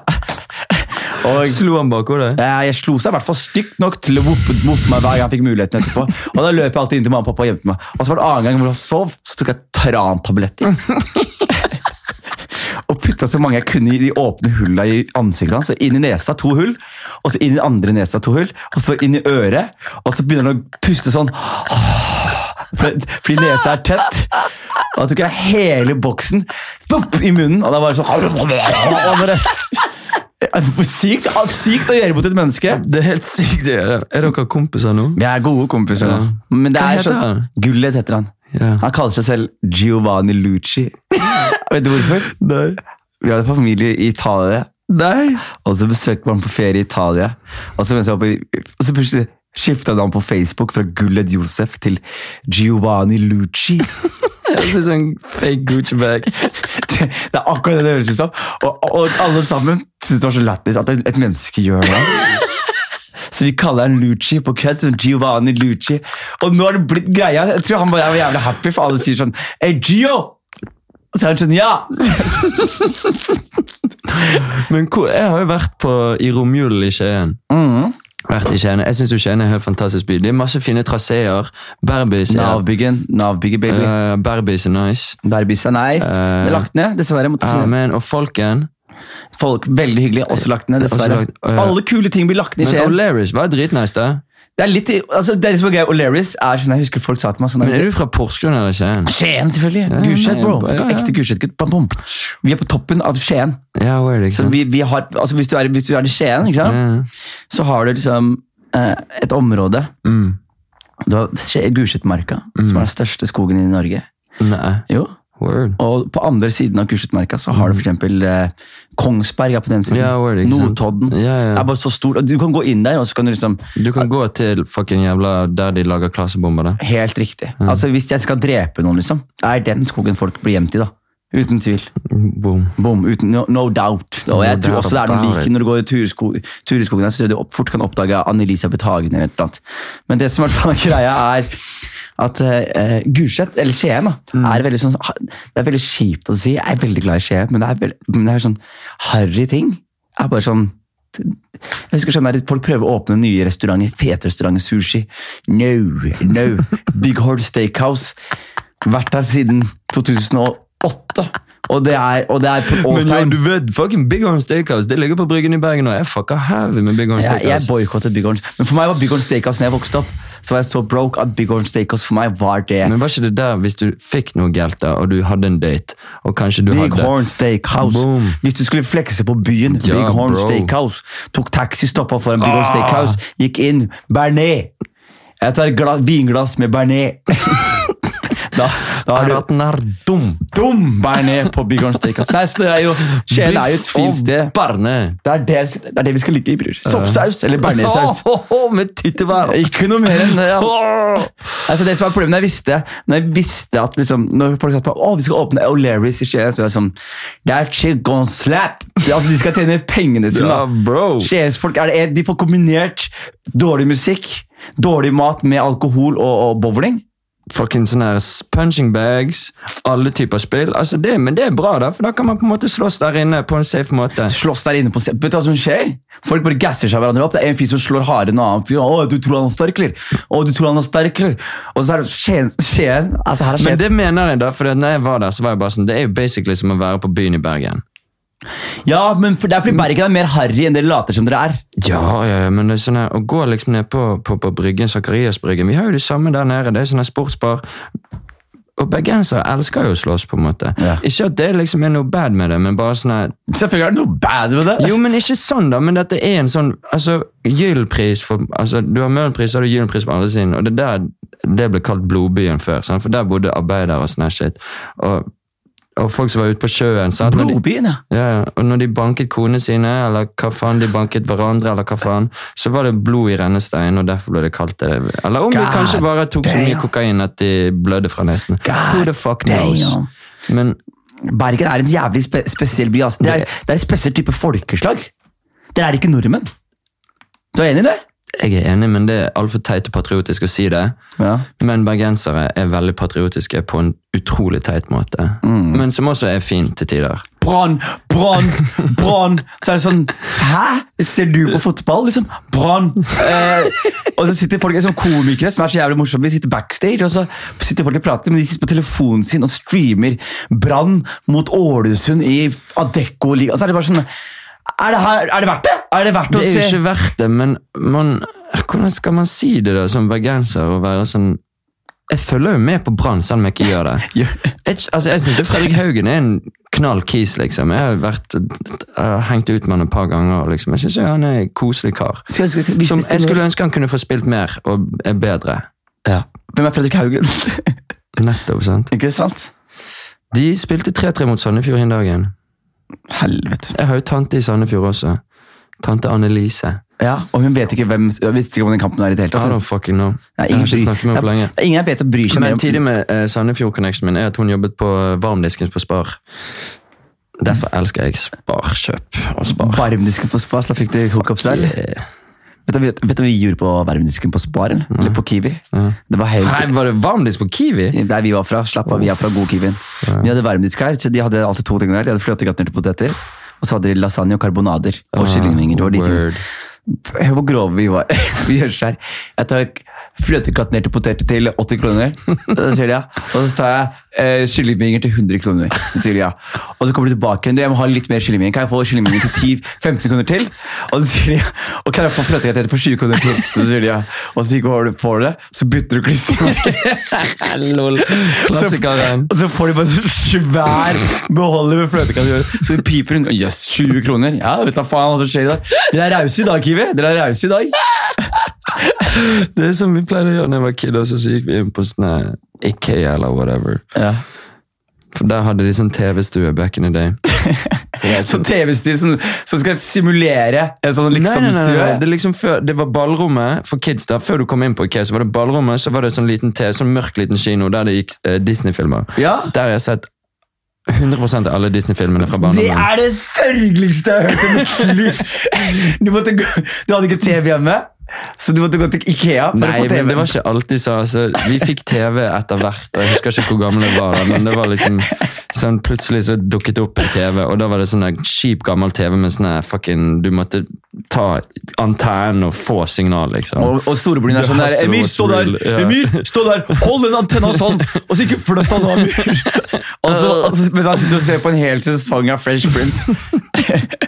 S1: Og
S2: Slo han bakhodet?
S1: Eh, Jeg slo seg i hvert fall stygt nok til å voppe mot meg hver gang jeg fikk muligheten etterpå. Og da løp jeg alltid inn til mamma og pappa og gjemte meg. Og så var det annen gang hvor jeg sov, så tok jeg trantabletter. og putta så mange jeg kunne i de åpne hulla i ansiktet hans. Så inn i nesa to hull, og så inn i den andre nesa to hull, og så inn i øret. Og så begynner han å puste sånn. Fordi fordi nesa er tett. Og da tok jeg hele boksen thupp, i munnen, og da var det sånn Sykt, sykt å gjøre mot et menneske.
S2: Det er helt sykt å gjøre. Er dere kompiser nå?
S1: Vi er gode kompiser. nå. Men det
S2: Hva
S1: er
S2: heter
S1: sånn,
S2: han?
S1: Gullet heter han.
S2: Ja.
S1: Han kaller seg selv Giovanni Lucci. Vet du hvorfor?
S2: Nei.
S1: Vi hadde familie i Italia,
S2: Nei.
S1: og så besøkte man på ferie i Italia. Og så mens jeg var på, og så plutselig Skifta navn på Facebook fra Gulled Josef til Giovanni Lucci.
S2: Jeg ser sånn fake Gucci-bag.
S1: Det, det er akkurat det det høres ut som. Og, og alle sammen syns det var så lættis at et menneske gjør det. Så vi kaller han Lucci på kødd. Sånn Giovanni Lucci. Og nå har det blitt greia. Jeg tror han bare er jævlig happy, for alle sier sånn Hey, Gio! Og så er han sånn Ja!
S2: Men hvor, jeg har jo vært på, i romjulen i Skien.
S1: Mm.
S2: Vært i Skien. Jeg syns Skien er en helt fantastisk by. Det er masse fine traseer. Berbis er,
S1: Nav-byggen. Nav-bygget, baby.
S2: eh, Berbis er nice.
S1: Berbis er nice.
S2: Eh.
S1: Det er lagt ned, dessverre. måtte jeg si.
S2: Amen. Og folken
S1: Folk veldig hyggelige, også lagt ned, dessverre.
S2: Eh, Også lagt- ja.
S1: Alle kule ting blir lagt ned i
S2: Men
S1: Skien.
S2: O'Learys var dritnice, da.
S1: Det er litt, altså, det er som er greia, O'Learys er sånn, jeg husker folk sa til meg sånn
S2: Men Ah. er du fra Porsgrunn eller Skien?
S1: Skien, selvfølgelig.
S2: Ja,
S1: Gulset,
S2: nei,
S1: bro.
S2: ja, ja.
S1: Ekte Gulset-gutt. Bam, bam. Vi er på toppen av Skien.
S2: Ja, hvor er det, ikke
S1: Så
S2: sant?
S1: vi, vi har, altså, hvis, du er, hvis du er i Skien, ikke sant?
S2: Ja.
S1: så har du liksom eh, et område.
S2: Mm.
S1: Du har Skje- Gulsetmarka, som er den største skogen i Norge.
S2: Nei.
S1: Jo.
S2: Word.
S1: Og på andre siden av Gulsetmarka så har du for eksempel eh, Kongsberg er på den siden.
S2: Mm. Ja, hvor er det, ikke sant?
S1: Notodden.
S2: Ja,
S1: Det
S2: ja.
S1: er bare så stort. og Du kan gå inn der, og så kan du liksom
S2: Du kan gå til fucking jævla der de lager klasebomber, da.
S1: Helt riktig. Altså, Hvis jeg skal drepe noen, liksom, er den skogen folk blir gjemt i. da. Uten tvil.
S2: Boom.
S1: Boom. Uten, no, no doubt. Og jeg
S2: No
S1: tror
S2: doubt
S1: også det er noen
S2: about
S1: like
S2: it.
S1: når du går i tursko, tur i skogen her, så tror jeg du opp, fort kan oppdage Anne-Elisabeth Hagen eller et eller annet. Men det som i hvert fall er greia, er at uh, Gulset, eller Skien, da,
S2: Mm.
S1: er veldig sånn Det er veldig kjipt å si. Jeg er veldig glad i Skien, men det er, veld, men det er sånn harry ting. Det er bare sånn jeg husker sånn der, Folk prøver å åpne nye restauranter. Fete restauranter, sushi. No, no. Big Horde Steakhouse. Vært her siden 2008. Og det er, og det er all
S2: Men jo,
S1: time.
S2: du vet, fucking Big Horn Steakhouse, det ligger på Bryggen i Bergen, og jeg fucka heavy med Big Horn
S1: Jeg, jeg
S2: Steakhouse.
S1: boikottet Big Orange. Men for meg var Big Orange Steakhouse når jeg vokste opp. Så var jeg så broke at Big Orange Steakhouse for meg var det.
S2: Men var ikke det der hvis du fikk noe galt der, og du hadde en date, og kanskje du
S1: Big
S2: hadde
S1: Horn Steakhouse.
S2: Boom.
S1: Hvis du skulle flekse på byen,
S2: Ja,
S1: Big Horn
S2: bro.
S1: Steakhouse. Tok taxi, stoppa foran Big Horn
S2: Ah.
S1: Steakhouse, gikk inn. Bernet! Jeg tar et gla- vinglass med Bernet. da, da er du
S2: Ratten er dum!
S1: dum Bernet på Big Horn Steakhouse. Nei, så det er jo, Skien er jo et
S2: Biff
S1: fint
S2: og
S1: sted.
S2: Barne!
S1: Det er det, det er det vi skal like i, bror. Soppsaus eller bearnéssaus.
S2: Ho, ho, ho, med tyttebær!
S1: Ikke noe mer enn det. altså.
S2: Åh!
S1: Altså det som er problemet, når jeg visste, når jeg visste at liksom, når folk satt på å, vi skal åpne O'Learys i Skien, så var jeg sånn That shit gonna slap! Altså, de skal tjene pengene sine.
S2: Ja,
S1: da.
S2: bro.
S1: Skiensfolk er det, de får kombinert dårlig musikk, dårlig mat med alkohol og, og bowling.
S2: Fucking sånne her punching bags, alle typer spill. Altså det, men det er bra, da, for da kan man på en måte slåss der inne på en safe måte.
S1: Slåss der inne på se- Vet du hva som skjer? Folk bare gasser seg hverandre opp. Det er en fyr som slår hardere enn en annen fyr. Å, du tror han er sterk, eller? Å, du tror han er sterk, eller? Og så er det Skien, Skien altså her er
S2: Men
S1: Skien.
S2: det mener jeg, da, for når jeg var der, så var jeg bare sånn Det er jo basically som å være på byen i Bergen.
S1: ja, men for, det er fordi Bergen er mer harry enn dere later som dere er.
S2: Ja, ja, ja, men det er sånn her, å gå liksom ned på, på, på bryggen, Sakariasbryggen Vi har jo det samme der nede. Det er sånn her sportsbar. Og bergensere elsker jo å slåss, på en måte.
S1: Ja.
S2: Ikke at det liksom er noe bad med det, men bare sånn her
S1: Selvfølgelig er det noe bad med det.
S2: Jo, men ikke sånn, da. Men dette er en sånn altså, Gyllpris for altså, Du har Møhlenpris, så har du Gyllenpris på andre siden. Og det der det ble kalt Blodbyen før, sant? for der bodde arbeidere og sånn her shit. Og, og folk som var ute på sjøen. Sant? Når de-
S1: Blodbyen, ja.
S2: Ja, ja. Og når de banket konene sine, eller hva faen de banket hverandre, eller hva faen, så var det blod i rennesteinen, og derfor ble det kalt det. Eller om
S1: God
S2: de kanskje bare tok så mye
S1: damn.
S2: kokain at de blødde fra nesen.
S1: God
S2: Who the fuck knows?
S1: Damn.
S2: Men
S1: Bergen er en jævlig spe spesiell by. Altså. Det, er, det er en spesiell type folkeslag. Dere er ikke nordmenn. Du er enig i det?
S2: jeg er enig, men det er altfor teit og patriotisk å si det.
S1: Ja.
S2: Men bergensere er veldig patriotiske på en utrolig teit måte. Men som også er fin til tider.
S1: Brann, brann, brann! Så er det sånn Hæ? Ser du på fotball, liksom? Brann! Eh, og så sitter folk som komikere som er så jævlig morsomme. Vi sitter backstage, og så sitter folk og prater, men de sitter på telefonen sin og streamer Brann mot Ålesund i Adecco-ligaen. Og så er det bare sånn Er det, her, er det verdt det? Er det verdt å
S2: Det er jo
S1: se?
S2: ikke verdt det, men man, hvordan skal man si det da, som bergenser, å være sånn Jeg følger jo med på Brann, selv om jeg ikke gjør det.
S1: Ja.
S2: Jeg, altså, jeg synes jo Fredrik Haugen er en knall kis, liksom. Jeg har jo vært, jeg har hengt ut med han et par ganger. og Liksom. Jeg synes jo han er en koselig kar.
S1: Skal, skal, hvis-
S2: Som
S1: hvis det
S2: jeg
S1: går-
S2: skulle ønske han kunne få spilt mer og er bedre.
S1: Ja. Hvem er Fredrik Haugen?
S2: Nettopp, sant?
S1: ikke sant?
S2: De spilte 3-3 mot Sandefjord den dagen.
S1: Helvete.
S2: Jeg har jo tante i Sandefjord også. Tante Annelise.
S1: Ja, og hun vet ikke hvem visste ikke om den kampen er i det hele
S2: I
S1: tatt.
S2: don't fucking know.
S1: Nei,
S2: Jeg har ikke
S1: bryr-
S2: snakket med henne på
S1: Nei,
S2: lenge.
S1: Ingen jeg vet å bryr seg mer
S2: Men
S1: om
S2: tidlig med eh, Sandefjord-connectionen min er at hun jobbet på eh, varmdisken på Spar. Derfor elsker jeg Sparkjøp og Spar.
S1: varmdisken på Spar. Så da fikk du hookups der. eller?
S2: Eh,
S1: Vet du, vet du hva vi gjorde på varmdisken på Spar? Eller, eller på Kiwi?
S2: Ja.
S1: Det var helt...
S2: Nei, var det varmdisk på Kiwi?
S1: Der vi var fra, slapp av, vi er fra god Kiwien. Vi hadde varmdisk her, så de hadde alltid to ting der. De hadde fløtegratinerte poteter, og så hadde de lasagne og karbonader og kyllingvinger. Det var de tingene.
S2: Word.
S1: Hør hvor grove vi var. vi gjør seg her. Jeg tar fløtegratinerte poteter til 80 kroner, så sier de ja. Og så tar jeg eh, kyllingvinger til 100 kroner, så sier de ja. Og så kommer de tilbake igjen. Du, jeg må ha litt mer kyllingvinger. Kan jeg få kyllingvinger til 10-15 kroner til? Og så sier de ja. Og kan jeg få fløtegraterte på 20 kroner til? Så sier de ja. Og så går du på det, så bytter du klistremerker.
S2: Lol. Klassikeren.
S1: Og så får de bare så svær beholder med fløtekasse. Så de piper rundt. Jøss, 20 kroner. Ja, vet da faen hva som skjer i dag. Dere er rause i dag, Kiwi. Dere er rause i dag.
S2: Det er som vi pleide å gjøre når jeg var kid, og så så gikk vi inn på sånne Ikea eller whatever.
S1: Ja.
S2: For der hadde de sånn TV-stue back in the day.
S1: Så TV-styr som, som skal simulere en sånn
S2: nei, nei, nei, nei. Det,
S1: liksom-stue.
S2: er liksom før, det var ballrommet for kids da. Før du kom inn på IKEA, så var det ballrommet, så var det sånn liten te, sånn mørk liten kino der det gikk eh, Disney-filmer.
S1: Ja.
S2: Der har jeg sett 100 av alle Disney-filmene fra
S1: Det
S2: barndommen.
S1: er det sørgeligste jeg har hørt i mitt liv! Du, måtte gå, du hadde ikke TV hjemme, så du måtte gå til Ikea for å
S2: Nei,
S1: få TV.
S2: men det var ikke alltid så. Altså, vi fikk TV etter hvert, og jeg husker ikke hvor gammel jeg var. da, men det var liksom sånn, Plutselig så dukket det opp en TV, og da var det sånn der kjip, gammel TV med sånn der fucking Du måtte ta antennen og få signal, liksom.
S1: Og, og storebroren er sånn der
S2: Hustle
S1: Emir,
S2: was
S1: stå der!
S2: real, ja.
S1: Emir, stå der! Hold den antenna sånn! Og så ikke flytt han av, Emir! Og så, og så, mens han sitter og ser på en hel sesong av Fresh Prince.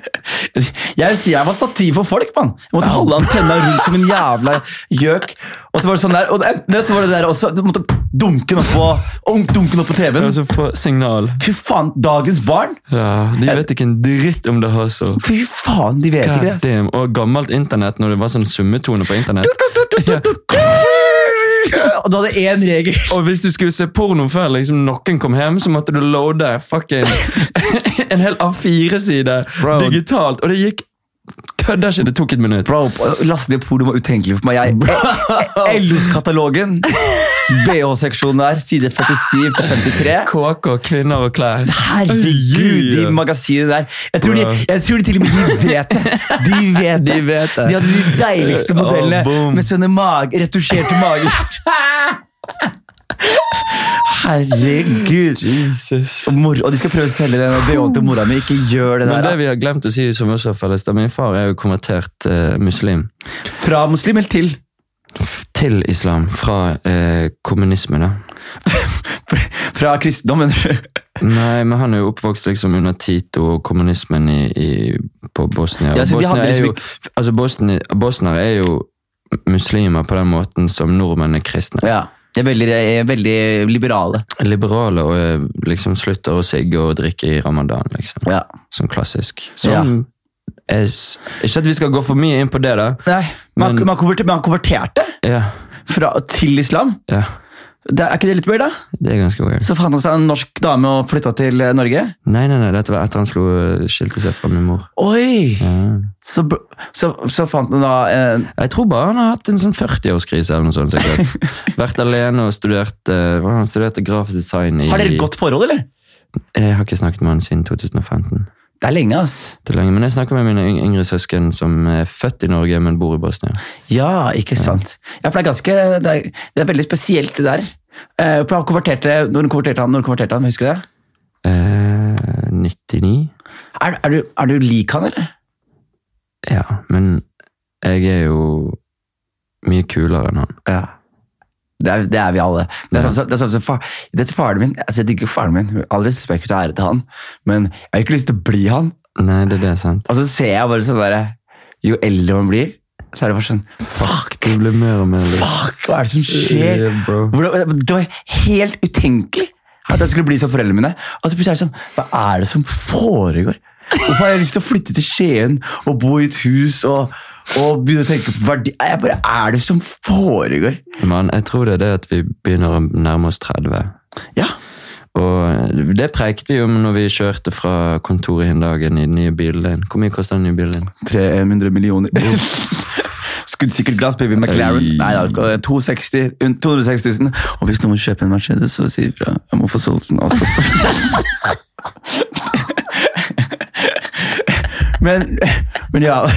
S1: Jeg husker jeg var stativ for folk, mann. Jeg måtte holde antenna rundt som en jævla gjøk. Og så var det sånn der, og det, så var det der også, du måtte dunke den opp på, og dunke den opp på TV-en.
S2: Altså, få signal.
S1: Fy faen, dagens barn!
S2: Ja, De vet ikke en dritt om det hustle.
S1: Fy faen, de vet ikke
S2: God
S1: det.
S2: damn. Og gammelt internett, når det var sånn summetone på internett.
S1: Og du hadde én regel.
S2: Og hvis du skulle se porno før liksom noen kom hjem, så måtte du loade fucking en hel A4-side
S1: Bro.
S2: digitalt. Og det gikk Kødder ikke, det tok et minutt.
S1: Bro, laste ned porno var utenkelig for meg. E-, Jeg, LOS-katalogen. BH-seksjonen der, side 47 til 53.
S2: KK, kvinner og klær.
S1: Herregud, de
S2: Oi,
S1: magasinene der. Jeg tror, de,
S2: Bro.
S1: jeg tror til og med de vet det. De vet det.
S2: De vet det.
S1: De hadde de deiligste modellene
S2: Oh, boom.
S1: med sånne mag, retusjerte mager. Herregud.
S2: Jesus.
S1: Og mor- og de skal prøve å selge den BH-en til mora mi. Ikke gjør det
S2: Men det
S1: der. da.
S2: vi har glemt å si, som også er felles, da min far er jo konvertert eh, muslim
S1: Fra muslim eller til?
S2: f- til islam fra eh, kommunisme, da.
S1: Fra kristendommen.
S2: Nei, men han er jo oppvokst liksom under Tito og kommunismen i, i, på Bosnia.
S1: Ja, så de
S2: Bosnia
S1: hadde
S2: er
S1: liksom
S2: jo, altså Bosni, Bosnere er jo muslimer på den måten som nordmenn er kristne.
S1: Ja, de er veldig, er veldig liberale.
S2: Liberale og eh, liksom slutter å sigge og drikke i ramadan, liksom.
S1: Ja.
S2: Som klassisk. Som er s- Ikke at vi skal gå for mye inn på det, da.
S1: Nei, man,
S2: Men-
S1: man, konverter, man konverterte
S2: Ja,
S1: fra, til islam.
S2: ja.
S1: Det, er ikke det litt weird, da?
S2: Det er ganske weird.
S1: Så fant han seg en norsk dame og flytta til eh, Norge.
S2: Nei, nei, nei, dette var etter han slo, eh, skilte seg fra min mor.
S1: Oi!
S2: Ja.
S1: Så, br- så, så fant han da eh,
S2: Jeg tror bare han har hatt en sånn 40-årskrise eller noe sånt. sikkert. Vært alene og studert eh, hva, Han studerte grafisk design i
S1: Har dere et godt forhold, eller?
S2: Jeg har ikke snakket med han siden 2015.
S1: Det er lenge, ass.
S2: Det er lenge, men jeg snakker med mine yng- yngre søsken som er født i Norge, men bor i Bosnia.
S1: Ja, ikke sant. Ja, for det er ganske Det er, det er veldig spesielt, det der. Eh, for han konverterte, når konverterte han? Når konverterte han, Husker du det?
S2: Eh, 99?
S1: Er, er, du, er du lik han, eller?
S2: Ja, men jeg er jo mye kulere enn han.
S1: Ja. Det er, det er vi alle. Det er samme som, det er samme som far, det er faren min. Altså, jeg digger faren min. med All respekt og ære til han. Men jeg har ikke lyst til å bli han.
S2: Nei, det er det, sant?
S1: Og så ser jeg bare sånn derre Jo eldre man blir, så er det bare sånn Fuck!
S2: Du blir mer og mer litt
S1: Fuck! Hva er det som skjer?
S2: Yeah, bro.
S1: Hvordan, det var helt utenkelig at jeg skulle bli som foreldrene mine. Og så plutselig er det sånn Hva er det som foregår? Hvorfor har jeg lyst til å flytte til Skien og bo i et hus og, og begynne å tenke på verdi... Jeg bare, er det som foregår?
S2: Men jeg tror det er det at vi begynner å nærme oss 30.
S1: Ja.
S2: Og det prekte vi jo når vi kjørte fra kontoret en dag i den nye bilen din. Hvor mye kosta den nye bilen din?
S1: 300 eh, millioner. Skuddsikkert glass, baby. McLaren.
S2: Oi.
S1: Nei, eh, det er ikke- 260, rundt 260 000. Og hvis noen kjøper en Mercedes, så sier fra. Jeg må få solgt den også. men, men ja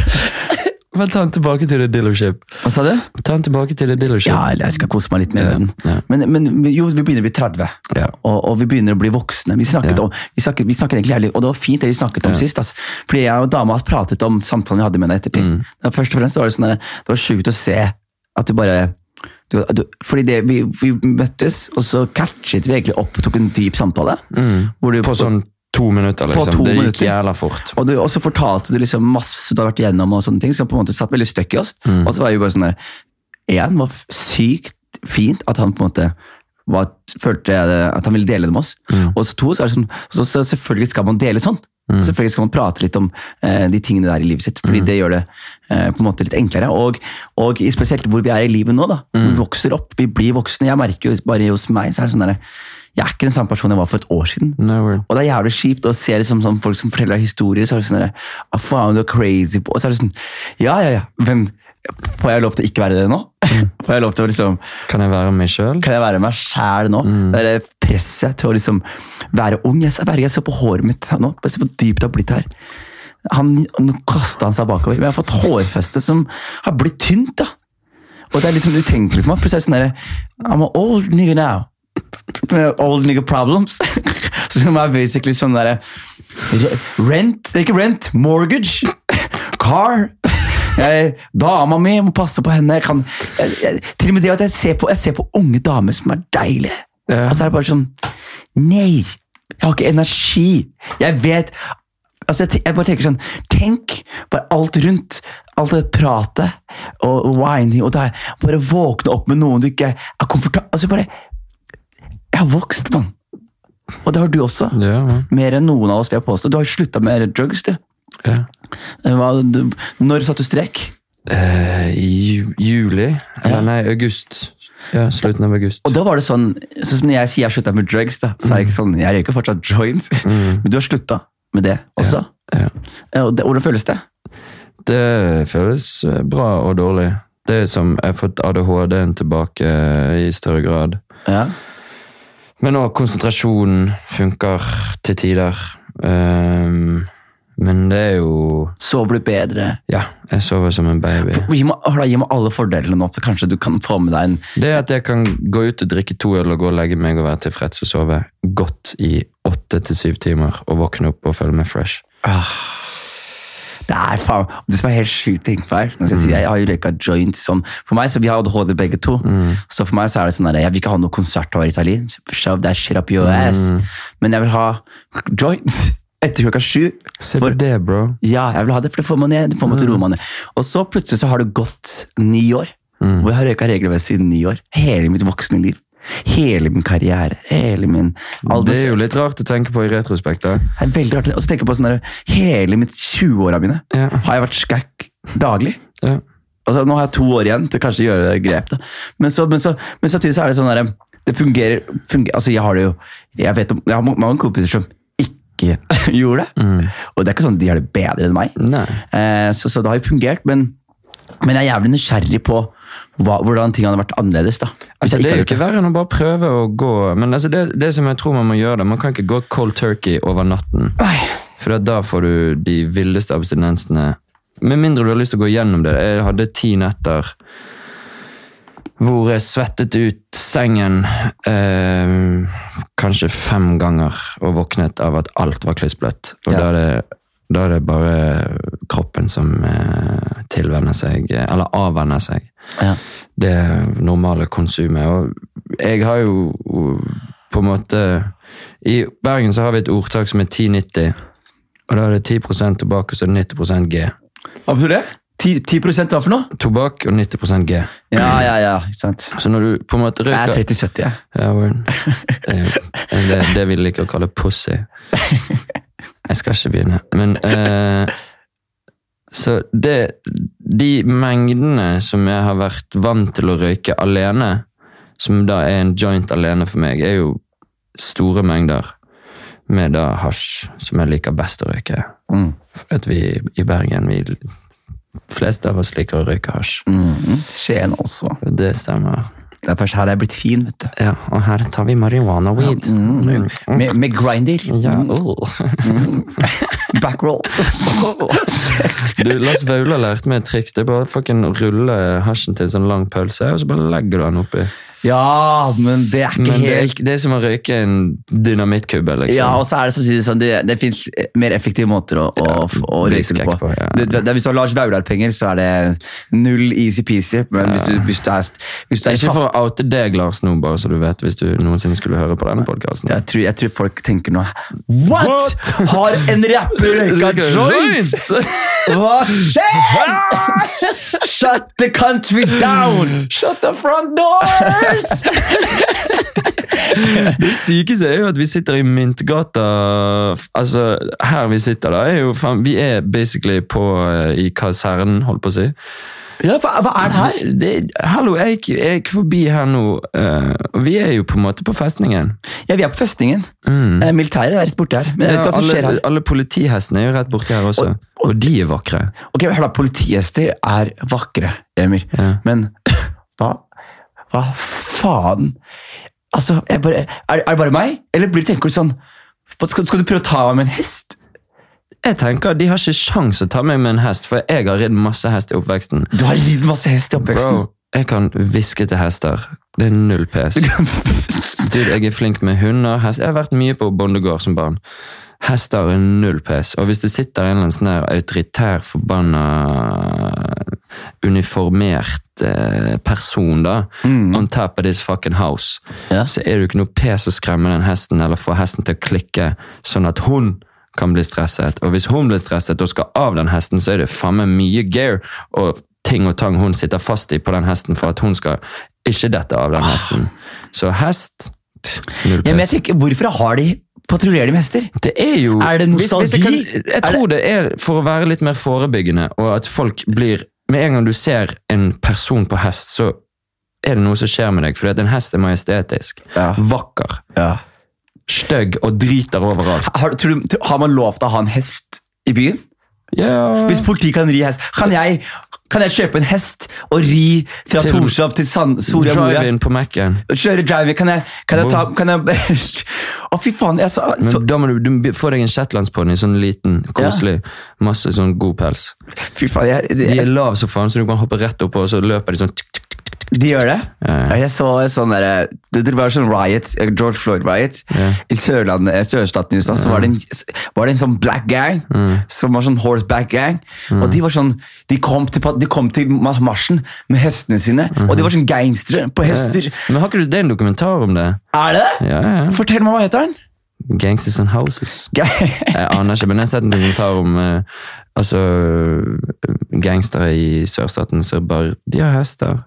S2: Men ta den tilbake til det dealership.
S1: Hva sa du?
S2: Ta den tilbake til det dealership.
S1: Ja, eller jeg skal kose meg litt mer med
S2: Ja, ja.
S1: den. Men, men jo, vi begynner å bli 30.
S2: Ja.
S1: og, og vi begynner å bli voksne. Vi snakket,
S2: Ja.
S1: om, vi snakket, vi snakket egentlig ærlig, og det var fint det vi snakket om sist. Altså. Fordi jeg og dama har pratet om samtalen vi hadde med henne ettertid.
S2: Mm.
S1: Men Først og fremst var det sånn der, det var sjukt å se at du bare du, du, fordi det, vi, vi møttes, og så catchet vi egentlig opp og tok en dyp samtale. Hvor du,
S2: På sånn to minutter, liksom.
S1: to
S2: det gikk
S1: minutter.
S2: jævla fort.
S1: og, du, og så fortalte du liksom masse du har vært igjennom, og sånne ting, som på en måte satt veldig støkk i oss. Og så var jeg jo bare sånn der, Én var f- sykt fint at han på en måte var, følte jeg det- at han ville dele det med oss. Og så to, så er det sånn, så, så selvfølgelig skal man dele sånt. Selvfølgelig skal man prate litt om eh, de tingene der i livet sitt, fordi det gjør det eh, på en måte litt enklere. Og, og i spesielt hvor vi er i livet nå, da. Vi vokser opp, vi blir voksne. Jeg merker jo bare hos meg, så er det sånn der, jeg er ikke den samme personen jeg var for et år siden.
S2: No word.
S1: Og det er jævlig kjipt å se liksom, sånn, folk som forteller historier, så er det sånn der, «Ah, faen, du er crazy. på-» Og så er det sånn, ja, ja, ja, men får jeg lov til å ikke være det nå? Får jeg lov til å liksom,
S2: Kan jeg være meg sjøl?
S1: kan jeg være meg sjæl nå? Det er det presset til å liksom være ung. Jeg så, jeg så på håret mitt her nå, bare se hvor dypt det har blitt her. Han, nå kasta han seg bakover, men jeg har fått hårfeste som har blitt tynt. da. Og det er liksom utenkelig for meg. Plutselig er det sånn der, I'm an old nigger now. Med Old nigger problems. som er basically sånn derre Rent, det er ikke rent, mortgage. Car. Jeg, dama mi jeg må passe på henne. Jeg kan, jeg, jeg, til og med det at jeg ser, på, jeg ser på unge damer som er deilige.
S2: Ja.
S1: Og så er det bare sånn Nei, jeg har ikke energi. Jeg vet altså jeg, te- jeg bare tenker sånn Tenk bare alt rundt. Alt det pratet og whining og det her. Bare våkne opp med noen du ikke er komfortabel Altså bare Jeg har vokst, mann. Og det har du også.
S2: Ja, man.
S1: Mer enn noen av oss, vil jeg påstå. Du har slutta med drugs, du. Eh,
S2: ja.
S1: Hva, du når satte du strek?
S2: Eh, I ju- juli? Eller nei, august. Ja, slutten av august.
S1: Og da var det sånn, sånn som når jeg sier jeg slutta med drugs, da, så er det ikke sånn, jeg røyker fortsatt joints, men du har slutta med det også.
S2: Mm. Ja.
S1: Eh, og det- Hvordan føles det?
S2: Det føles eh, bra og dårlig. Det er som jeg har fått ADHD-en tilbake eh, i større grad.
S1: Ja.
S2: Men òg konsentrasjonen funker til tider. Ehm, men det er jo
S1: Sover du bedre?
S2: Ja, jeg sover som en baby.
S1: Gi meg, hør da, gi meg alle fordelene nå, så kanskje du kan få med deg en
S2: Det at jeg kan gå ut og drikke to øl og gå og legge meg og være tilfreds og sove godt i åtte til syv timer og våkne opp og føle meg fresh.
S1: Det er faen, det som er helt sjukt ting for her. Nå skal jeg, si,
S2: Mm.
S1: jeg har jo røyka joint sånn. For meg, så vi har ADHD begge to.
S2: Mm.
S1: Så for meg så er det sånn der, jeg vil ikke ha noe konsert av Ritalin. Shove that shit up your ass.
S2: Mm.
S1: Men jeg vil ha joints etter klokka sju.
S2: Se
S1: For-
S2: på det, bro.
S1: Ja, jeg vil ha det, for det får man ned, det får man
S2: Mm.
S1: til å roe meg ned. Og så plutselig så har det gått ni år,
S2: Mm.
S1: og jeg har røyka regelmessig i ni år. Hele mitt voksne liv. Hele min karriere. Hele min alder.
S2: Det er jo litt rart å tenke på i retrospekt. da.
S1: Det er veldig rart. Og så tenker jeg på sånn der, hele mitt 20-åra mine
S2: Ja.
S1: har jeg vært skakk daglig.
S2: Ja.
S1: Altså, nå har jeg to år igjen til kanskje å gjøre grep. Da. Men, så, men, så, men samtidig så er det sånn der, det fungerer, fungerer Altså, jeg har det jo Jeg vet om, jeg har ma- mange kompiser som ikke gjorde det.
S2: Mm.
S1: Og det er ikke sånn at de har det bedre enn meg.
S2: Nei.
S1: Eh, så, så det har jo fungert, men, men jeg er jævlig nysgjerrig på hva, hvordan ting hadde vært annerledes. da. Hvis
S2: Altså,
S1: jeg ikke
S2: det er jo
S1: hadde gjort
S2: ikke verre enn å bare prøve å gå Men altså, det, det som jeg tror man må gjøre, da, man kan ikke gå cold turkey over natten.
S1: Nei.
S2: For at da får du de villeste abstinensene. Med mindre du har lyst til å gå gjennom det. Jeg hadde ti netter hvor jeg svettet ut sengen eh, kanskje fem ganger og våknet av at alt var klissbløtt. Og
S1: Ja.
S2: da, er det, da er det bare kroppen som eh, tilvenner seg, eller avvenner seg
S1: Ja.
S2: det normale konsumet. Og jeg har jo på en måte I Bergen så har vi et ordtak som er 10-90. Og da er det 10 tobakk og så er det 90 G.
S1: Absolutt det. 10, 10 hva for noe?
S2: Tobakk og 90 G.
S1: Ja, ja, ja. ikke sant.
S2: Så når du på en måte
S1: Jeg er
S2: røyker
S1: 30-70, jeg.
S2: ja, Warren. det, er jo- det, det vi liker å kalle pussy. Jeg skal ikke begynne. Men eh, Så det De mengdene som jeg har vært vant til å røyke alene, som da er en joint alene for meg, er jo store mengder med da hasj, som jeg liker best å røyke.
S1: Mm.
S2: For at vi i Bergen, vi fleste av oss liker å røyke hasj.
S1: Mm. Skien også.
S2: Det stemmer.
S1: Det er først her jeg er blitt fin, vet du.
S2: Ja, og her tar vi marihuana weed. Mm.
S1: Med, med grinder.
S2: Ja, åh.
S1: Backroll.
S2: Du, Lars Vaular lærte meg et triks. Det er bare å fucking rulle hasjen til en sånn lang pølse, og så bare legger du den oppi.
S1: Ja, men det er ikke sånn.
S2: Men det er,
S1: helt
S2: ikke- det er som å røyke en dynamittkubbe, liksom.
S1: Ja, og så er det samtidig sånn, det, det fins mer effektive måter å, å, å røyke det
S2: risker
S1: på.
S2: jeg ikke på, ja.
S1: Det, det, hvis du har Lars Vaular-penger, så er det null easy-peasy. Men hvis du, hvis du er, hvis du er
S2: ikke
S1: fattig
S2: for å oute deg, Lars, nå, bare så du vet, hvis du noensinne skulle høre på denne podkasten.
S1: jeg tror, jeg tror folk tenker nå What?! Har en rapper røyka joint?! Hva skjer?! Shut the country down!
S2: Shut the front doors! det sykeste er jo at vi sitter i Myntgata Altså, her vi sitter, da, er jo faen Vi er basically på eh, i kasernen, holdt på å si.
S1: Ja, hva, hva er det her?
S2: Det, hallo, jeg gikk, jeg gikk forbi her nå. eh, og vi er jo på en måte på festningen.
S1: Ja, vi er på festningen. Eh, Militæret er rett borte her. Men jeg vet ikke hva som
S2: alle,
S1: skjer her.
S2: alle politihestene er jo rett borti her også. Og, de er vakre.
S1: Ok, hør da, Politihester er vakre, Emil.
S2: Ja.
S1: Men hva, hva faen? Altså, jeg bare, er, er det bare meg? Eller blir tenker du sånn hva, skal, skal du prøve å ta meg med en hest?
S2: Jeg tenker De har ikke sjans å ta meg med en hest, for jeg har ridd masse hest i oppveksten.
S1: Du har ridd masse hest i oppveksten.
S2: Bro, jeg kan hviske til hester. Det er null pes. Dude, jeg er flink med hunder. Hest. Jeg har vært mye på bondegård som barn. Hester er null pes. Og hvis det sitter en eller annen sånn der autoritær, forbanna uniformert eh, person da, on top of this fucking house,
S1: Ja.
S2: så er det jo ikke noe pes å skremme den hesten eller få hesten til å klikke, sånn at hun kan bli stresset. Og hvis hun blir stresset og skal av den hesten, så er det faen meg mye gear og ting og tang hun sitter fast i på den hesten for at hun skal ikke dette av den hesten. Så hest tch, Null
S1: Ja, men jeg
S2: pes.
S1: tenker, Hvorfor har de patruljerer de med hester?
S2: Det er jo
S1: Er det
S2: jeg,
S1: nostalgi?
S2: kan, jeg tror det er for å være litt mer forebyggende, og at folk blir Med en gang du ser en person på hest, så er det noe som skjer med deg, fordi at en hest er majestetisk,
S1: Ja.
S2: vakker, stygg og driter overalt.
S1: Har, tror du, har man lov til å ha en hest i byen?
S2: Ja.
S1: Hvis politiet kan ri hest, kan jeg, kan jeg kjøpe en hest og ri fra
S2: Til-
S1: Torshov til Sand, Soria Moria?
S2: Drive-in på Mac-en.
S1: Kjøre driving, kan jeg, kan jeg ta kan jeg, Å, fy faen. Jeg så,
S2: Men
S1: så,
S2: da må du, du be- få deg en shetlandsponni, sånn liten, koselig. Masse sånn god pels.
S1: fy faen jeg,
S2: De
S1: de,
S2: er lav så faen, så du kan hoppe rett opp, og så løper de sånn tuk, tuk, tuk, tuk.
S1: de gjør det?
S2: Ja,
S1: Jeg så en sånn derre Det det var sånn riot, George Floyd-riot. I Sørlandet, eh, sørstaten i USA så var det en, var det en sånn black gang, som var sånn horseback gang. Og de var sånn De kom til, pa- de kom til ma- marsjen med hestene sine, og de var sånn gangstere på hester.
S2: Men har ikke du, det er en dokumentar om det?
S1: Er det det?
S2: Ja, ja.
S1: Fortell meg, hva heter den?
S2: Gangsters and Houses.
S1: Ga-
S2: Jeg aner ikke, men jeg har sett en dokumentar om eh, altså, eh, gangstere i sørstaten som bare De har hester.